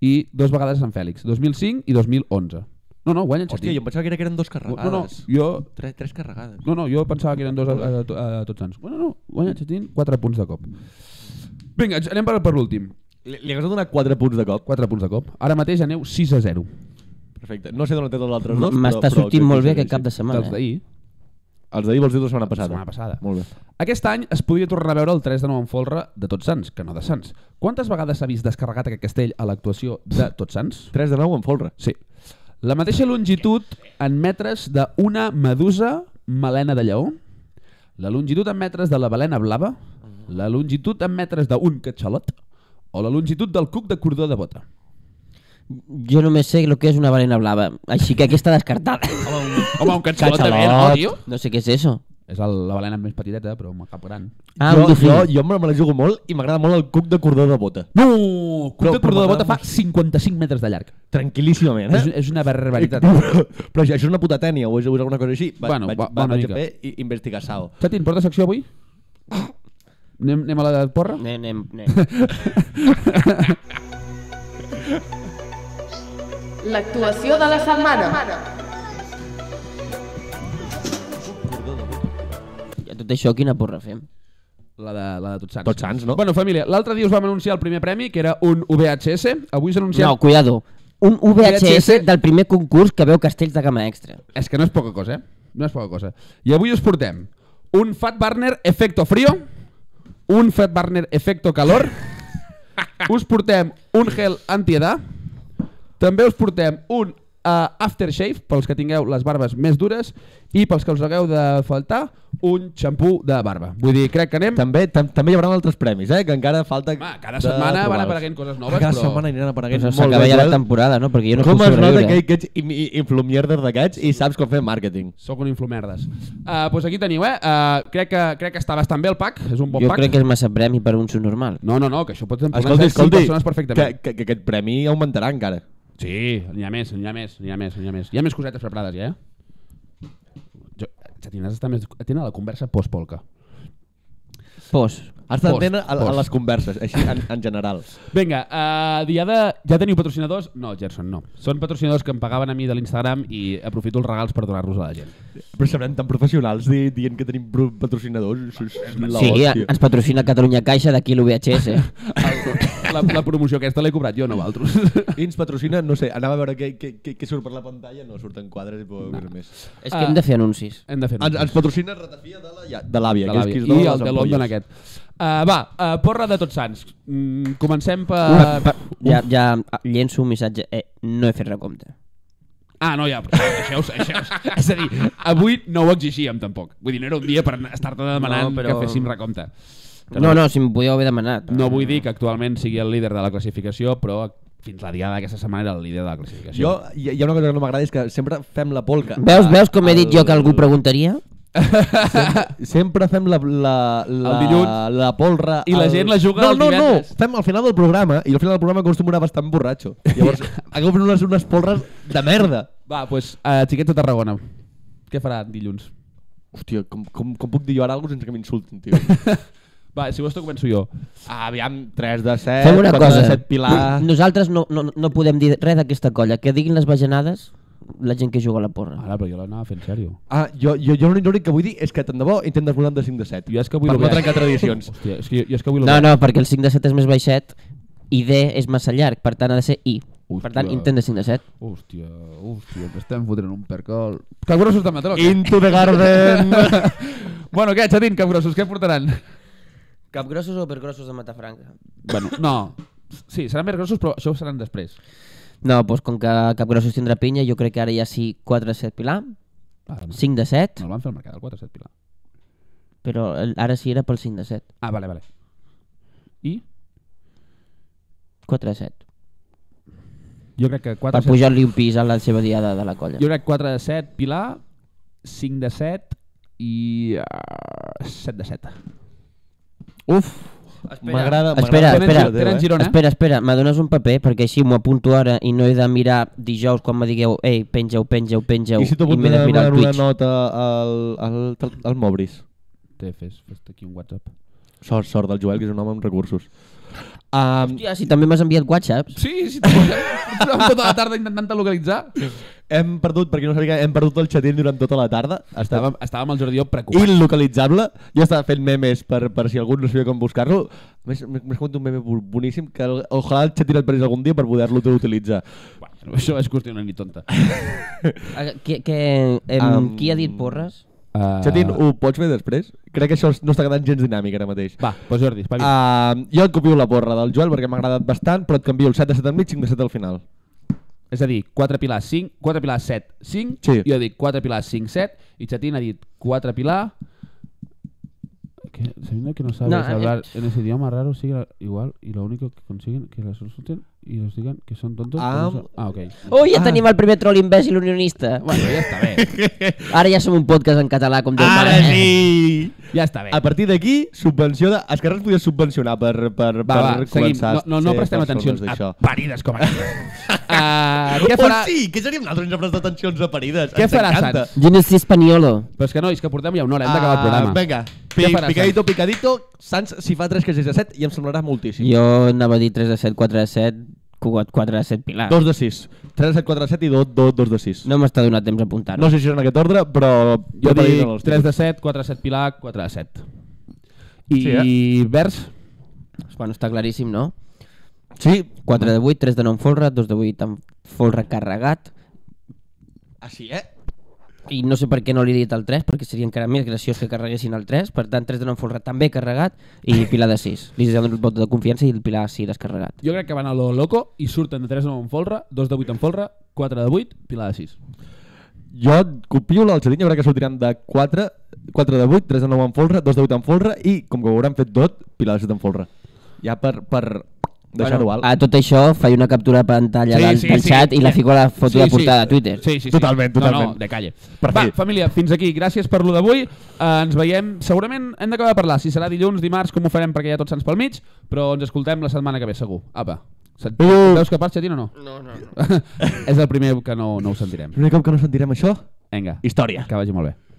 S1: i dos vegades a Sant Fèlix. 2005 i 2011. No, no, guanya
S2: Eh?
S1: el
S2: Hòstia,
S1: xatín.
S2: jo em pensava que era que eren dos carregades.
S1: No, no, jo...
S2: Tres, tres carregades.
S1: No, no, jo pensava que eren dos a, a, a, a Tots Sants. Bueno, no, guanya el xatín 4 punts de cop. Vinga, anem per, per l'últim.
S2: Li, li hagués donat quatre punts de cop.
S1: 4 punts de cop. Ara mateix aneu 6 a 0.
S2: Perfecte. No sé d'on té tots els altres
S3: M-
S2: dos.
S3: M'està
S2: però- però
S3: sortint molt bé
S2: sí,
S3: aquest
S2: sí, Doncs
S3: cap de
S2: sí.
S3: setmana.
S1: Els
S3: Eh?
S1: d'ahir.
S2: Els d'ahir vols dir la setmana passada.
S1: Setmana passada.
S2: Molt bé.
S1: Aquest any es podria tornar a veure el 3 de nou en folre de Tots Sants, que no de Sants. Quantes vegades s'ha vist descarregat aquest castell a l'actuació de Tots Sants?
S2: 3 de 9 en folre.
S1: Sí. La mateixa longitud en metres d'una medusa melena de lleó, la longitud en metres de la balena blava, la longitud en metres d'un catxalot o la longitud del cuc de cordó de bota.
S3: Jo només sé el que és una balena blava, així que aquesta
S2: <laughs>
S3: descartada. <laughs>
S1: Home, un catxalot, també, no,
S3: Catxalot.
S1: tio?
S3: No sé què és això.
S1: És el, la balena més petiteta, però amb el cap gran.
S3: Ah,
S2: jo,
S3: un dofí.
S2: jo, jo me la jugo molt i m'agrada molt el cuc de cordó de bota.
S1: No! Cuc
S2: Però-
S1: de cordó
S2: però
S1: de bota fa
S2: m'agrada
S1: 55 metres de llarg.
S2: Tranquil·líssimament,
S1: És,
S2: eh?
S1: és una barbaritat.
S2: Però, <laughs> però això és una puta tènia o és, o és alguna cosa així? Va,
S1: Bueno,
S2: vaig,
S1: va-
S2: va,
S1: bona
S2: vaig
S1: mica.
S2: a fer i investigar Sao.
S1: Chatín, porta secció <laughs> avui? Anem, anem a la de porra?
S3: Anem, anem, anem.
S4: L'actuació de la setmana.
S3: I a Tot això, quina porra fem?
S1: La de, la de Tots Sants.
S2: Tots Sants, no?
S1: Bueno, família, l'altre dia us vam anunciar el primer premi, que era un VHS. Avui us anunciem...
S3: No, cuidado. Un VHS
S1: VHS.
S3: del primer concurs que veu castells de gamma extra.
S1: És que no és poca cosa, eh? No és poca cosa. I avui us portem un Fat Burner Efecto Frío, un Fat Burner Efecto
S2: <laughs>
S1: Calor, us portem un gel antiedad, també us portem un uh, aftershave, pels que tingueu les barbes més dures, i pels que us hagueu de faltar, un xampú de barba. Vull dir, crec que anem...
S2: També, tam, també hi haurà altres premis, eh? Que encara falta...
S1: Home, cada
S2: de
S1: setmana van
S2: trobar-los.
S1: apareguent coses noves,
S2: cada
S1: però-
S2: setmana aniran apareguent
S3: Però
S2: molt
S3: s'acaba ja
S2: bé,
S3: la temporada, no? Perquè jo no
S2: Com
S3: puc
S2: es nota que,
S3: sobreviure.
S2: que ets im- i- influmerder d'aquests i saps com fer màrqueting.
S1: Sóc un influmerdes. Uh, doncs aquí teniu, eh? Uh, crec, que, crec que està bastant bé el pack, és un bon
S3: Jo
S1: pack.
S3: crec que és massa premi per un subnormal.
S1: No, no, no, que això pot
S2: Escolti,
S1: emplenar-se cinc
S2: escolti,
S1: persones
S2: que,
S1: perfectament.
S2: que, que aquest premi augmentarà encara.
S1: Sí, n'hi ha més, n'hi ha més, n'hi ha més, n'hi ha més. Hi ha més cosetes preparades, ja, eh? Jo, Xatín, has d'estar més atent a la conversa post-polca.
S3: Pos.
S2: Has d'entendre
S1: Post,
S2: a, a
S1: post.
S2: les converses, així en, en general.
S1: Vinga, uh, diada... Ja teniu patrocinadors? No, Gerson, no. Són patrocinadors que em pagaven a mi de l'Instagram i aprofito els regals per donar-los a la gent.
S2: Però serem tan professionals di, dient que tenim pro- patrocinadors. Això és la
S3: sí,
S2: hòstia.
S3: ens patrocina Catalunya Caixa d'aquí <laughs> l'UVHS.
S1: La, la promoció aquesta l'he cobrat jo, no valtros.
S2: I ens patrocina, no sé, anava a veure què, què, què, què surt per la pantalla, no surten quadres i puc veure més.
S3: és que hem de fer anuncis.
S1: <laughs> Hem de fer
S2: Ens, ens patrocina Ratafia de la- ja- de
S1: de
S2: l'àvia, que és
S1: l'àvia. I el
S2: qui es dona les
S1: de
S2: ampolles.
S1: London aquest. Uh, va, uh, porra de tots sants. Mm, comencem per...
S3: Uh, per, ja, ja ah, llenço un missatge. Eh, no he fet recompte.
S1: Ah, no, ja, però deixeu-vos, deixeu-vos. <laughs> És a dir, avui no ho exigíem tampoc. Vull dir, no era un dia per estar-te demanant no,
S3: No,
S1: però...
S3: però-
S1: que féssim recompte.
S3: No, no, si m'ho podíeu haver demanat.
S1: No vull dir que actualment sigui el líder de la classificació, però fins la diada d'aquesta setmana era el líder de la classificació.
S2: Jo, hi, hi ha una cosa que no m'agrada, és que sempre fem la polca.
S3: Veus, veus com he
S2: El-
S3: dit jo que algú preguntaria?
S2: Sempre fem la, la, la,
S1: El dilluns.
S2: la polra...
S1: I la gent la juga
S2: no,
S1: el
S2: no,
S1: divendres.
S2: No, fem al final del programa, i al final del programa acostumo a anar bastant borratxo.
S3: <laughs>
S2: Llavors, acabo fent unes, unes polres de merda.
S1: Va, doncs, pues, uh, xiquets de Tarragona. Què farà dilluns?
S2: Hòstia, com, com, com puc dir jo ara alguna cosa sense que m'insultin, tio?
S1: Va, si vols tu començo jo.
S2: Ah, Aviam, 3 de 7,
S3: Fem una
S2: 4
S3: cosa.
S2: de 7 Pilar...
S3: Nosaltres no, no, no podem dir res d'aquesta colla. Que diguin les bajanades la gent que juga a la porra.
S1: Ara, però jo l'anava fent sèrio.
S2: Ah, jo, jo, jo l'únic l'únic que vull dir és que tant de bo intent desmuntar de 5 de 7.
S1: Jo és que vull
S2: per no
S1: l'obert.
S2: trencar
S1: <laughs>
S2: tradicions.
S1: Hòstia, és que jo, jo és que vull
S3: No, no, perquè el 5 de 7 és més baixet i D és massa llarg, per tant ha de ser I.
S1: Hòstia.
S3: Per tant, intent de 5 de 7.
S1: Hòstia, hòstia, que estem fotent un percol. Que grossos de matró.
S2: Into the garden!
S1: bueno, què, Xatín, que grossos, què portaran?
S3: Capgrossos o pergrossos de Matafranca?
S1: Bueno, no. Sí, seran més grossos, però això ho seran després.
S3: No, doncs com que Capgrossos tindrà pinya, jo crec que ara ja sí 4 de 7 Pilar,
S1: Ah, no,
S3: 5 de 7,
S1: no el van fer al mercat, el 4 7 Pilar.
S3: però el- ara sí era pel 5 de 7.
S1: Ah, vale, vale. I?
S3: 4 de 7.
S1: Jo crec que 4
S3: per pujar-li un pis a la seva diada de la colla.
S1: Jo crec 4 de 7, Pilar, 5 de 7 i uh, 7 de 7.
S2: Uf, m'agrada. m'agrada
S3: Espera,
S2: molt
S3: espera,
S2: el teu,
S1: tenen giro-
S2: eh?
S1: Girona.
S3: espera, espera, me dones un paper perquè així m'ho apunto ara i no he de mirar dijous quan me digueu ei, pengeu, pengeu, pengeu
S2: I si t'ho pot
S3: m'he de
S2: donar
S3: mirar el
S2: una
S3: Twitch.
S2: nota al, al, al, al Mobris.
S1: Té, fes, fes aquí un WhatsApp.
S2: Sort, sort del Joel, que és un home amb recursos. Um,
S3: Hòstia, si també m'has enviat whatsapps.
S1: Sí, sí, estàvem tota la tarda intentant-te localitzar.
S2: hem perdut, perquè no sabia que hem perdut el xatín durant tota la tarda. Estàvem
S1: Estàvem, estàvem el Jordi Llop preocupat.
S2: il·localitzable. Jo estava fent memes per, per si algú no sabia com buscar-lo. A més, m'has comentat un meme bo- boníssim que el- ojalà el xatín et parés algun dia per poder-lo utilitzar.
S1: Bueno, això és qüestió una nit tonta.
S3: Ah, Que, que, em,
S2: Am.
S3: Qui ha dit porres?
S1: Uh,
S2: Xatín, ho pots fer després? Crec que això no està quedant gens dinàmic ara mateix.
S1: Va, doncs Jordi, espavi. Uh,
S2: Uh, jo et copio la porra del Joel perquè m'ha agradat bastant, però et canvio el 7 de 7 enmig, 5 de 7 al final.
S1: és a dir, 4 pilar 5, 4 pilar 7, 5,
S2: Sí.
S1: jo dic 4 pilar 5, 7, i Xatín ha dit 4 pilar... Que, sabiendo que no sabes
S3: No, eh,
S1: hablar en ese idioma raro, sigue igual y lo único que consiguen que les resulten y los digan que son tontos. que no
S2: Am-
S1: son- Ah, ok.
S3: Oh, ja
S2: Ah.
S3: tenim el primer troll imbècil unionista.
S1: Bueno, ja està bé.
S3: Ara ja som un podcast en català, com Déu
S2: Ara
S3: mare.
S2: sí!
S1: Ja està
S2: <laughs>
S1: bé.
S2: A partir d'aquí, subvenció de... Esquerra ens podia subvencionar per, per,
S1: Va,
S2: per
S1: va, seguim.
S2: començar
S1: No, no, no
S2: a ser
S1: prestem atenció
S2: persones d'això.
S1: a parides
S2: <laughs>
S1: com aquestes. uh, què farà...
S2: Oh, sí, que seríem nosaltres no prestar atencions a parides.
S1: Què
S2: Ens
S1: farà
S2: encanta.
S1: Sants?
S3: Jo no sé espanyolo.
S1: Però és que nois, que portem ja una hora, hem d'acabar el programa.
S2: Ah, Vinga,
S1: Què
S2: Pi-
S1: farà
S2: picadito, picadito. Sants, si fa 3 casells de 7, i em semblarà moltíssim.
S3: Jo anava a dir 3 de 7, 4 de 7, 4 de 7 Pilar.
S2: 2 de 6. 3 de 7, 4 de 7 i 2, 2, 2 de 6.
S3: No m'està donant temps a apuntar-ho.
S2: No sé si és en aquest ordre, però...
S1: Jo
S2: per dir-ne
S1: dic
S2: els
S1: 3 de
S2: tipus.
S1: 7, 4 de 7 Pilar, 4 de 7. I
S2: Sí,
S1: sí, eh? vers?
S3: Bueno, està claríssim, no?
S2: Sí.
S3: 4 de 8, 3 de 9 amb folre, 2 de 8 amb folre carregat.
S2: Ah, sí, eh?
S3: I no sé per què no li he dit el 3, perquè seria encara més graciós que carreguessin el 3. Per tant, 3 de 9 amb folre també carregat i Pilar de 6. Li dono el vot de confiança i el Pilar sí descarregat.
S1: Jo crec que van a lo loco i surten de 3 de 9 en folre, 2 de 8 en folre, 4 de 8, Pilar de 6.
S2: Jo et copio l'alçadinha, crec que sortiran de 4, 4 de 8, 3 de 9 en folre, 2 de 8 en folre i, com que ho hauran fet tot, Pilar de 7 en folre. Ja per, per deixar-ho alt.
S3: A tot això, faig una captura de pantalla
S1: Sí,
S3: del,
S1: sí,
S3: del
S1: sí.
S3: xat i la fico a la foto de portada a Twitter.
S1: Sí, sí, sí.
S2: Totalment,
S1: No,
S2: totalment.
S1: no, de calle.
S2: Per
S1: Va,
S2: fi.
S1: família, fins aquí. Gràcies per lo d'avui. Eh, ens veiem. Segurament hem d'acabar de parlar. Si serà dilluns, dimarts, com ho farem, perquè hi ha tots sants pel mig, però ens escoltem la setmana que ve, segur. Apa. Se't...
S2: Uh.
S1: Veus que part, Xatín, o no? No, no. <laughs> És el primer que no, no ho sentirem.
S2: Primer cop que no sentirem això,
S1: Vinga,
S2: història.
S1: que vagi molt bé.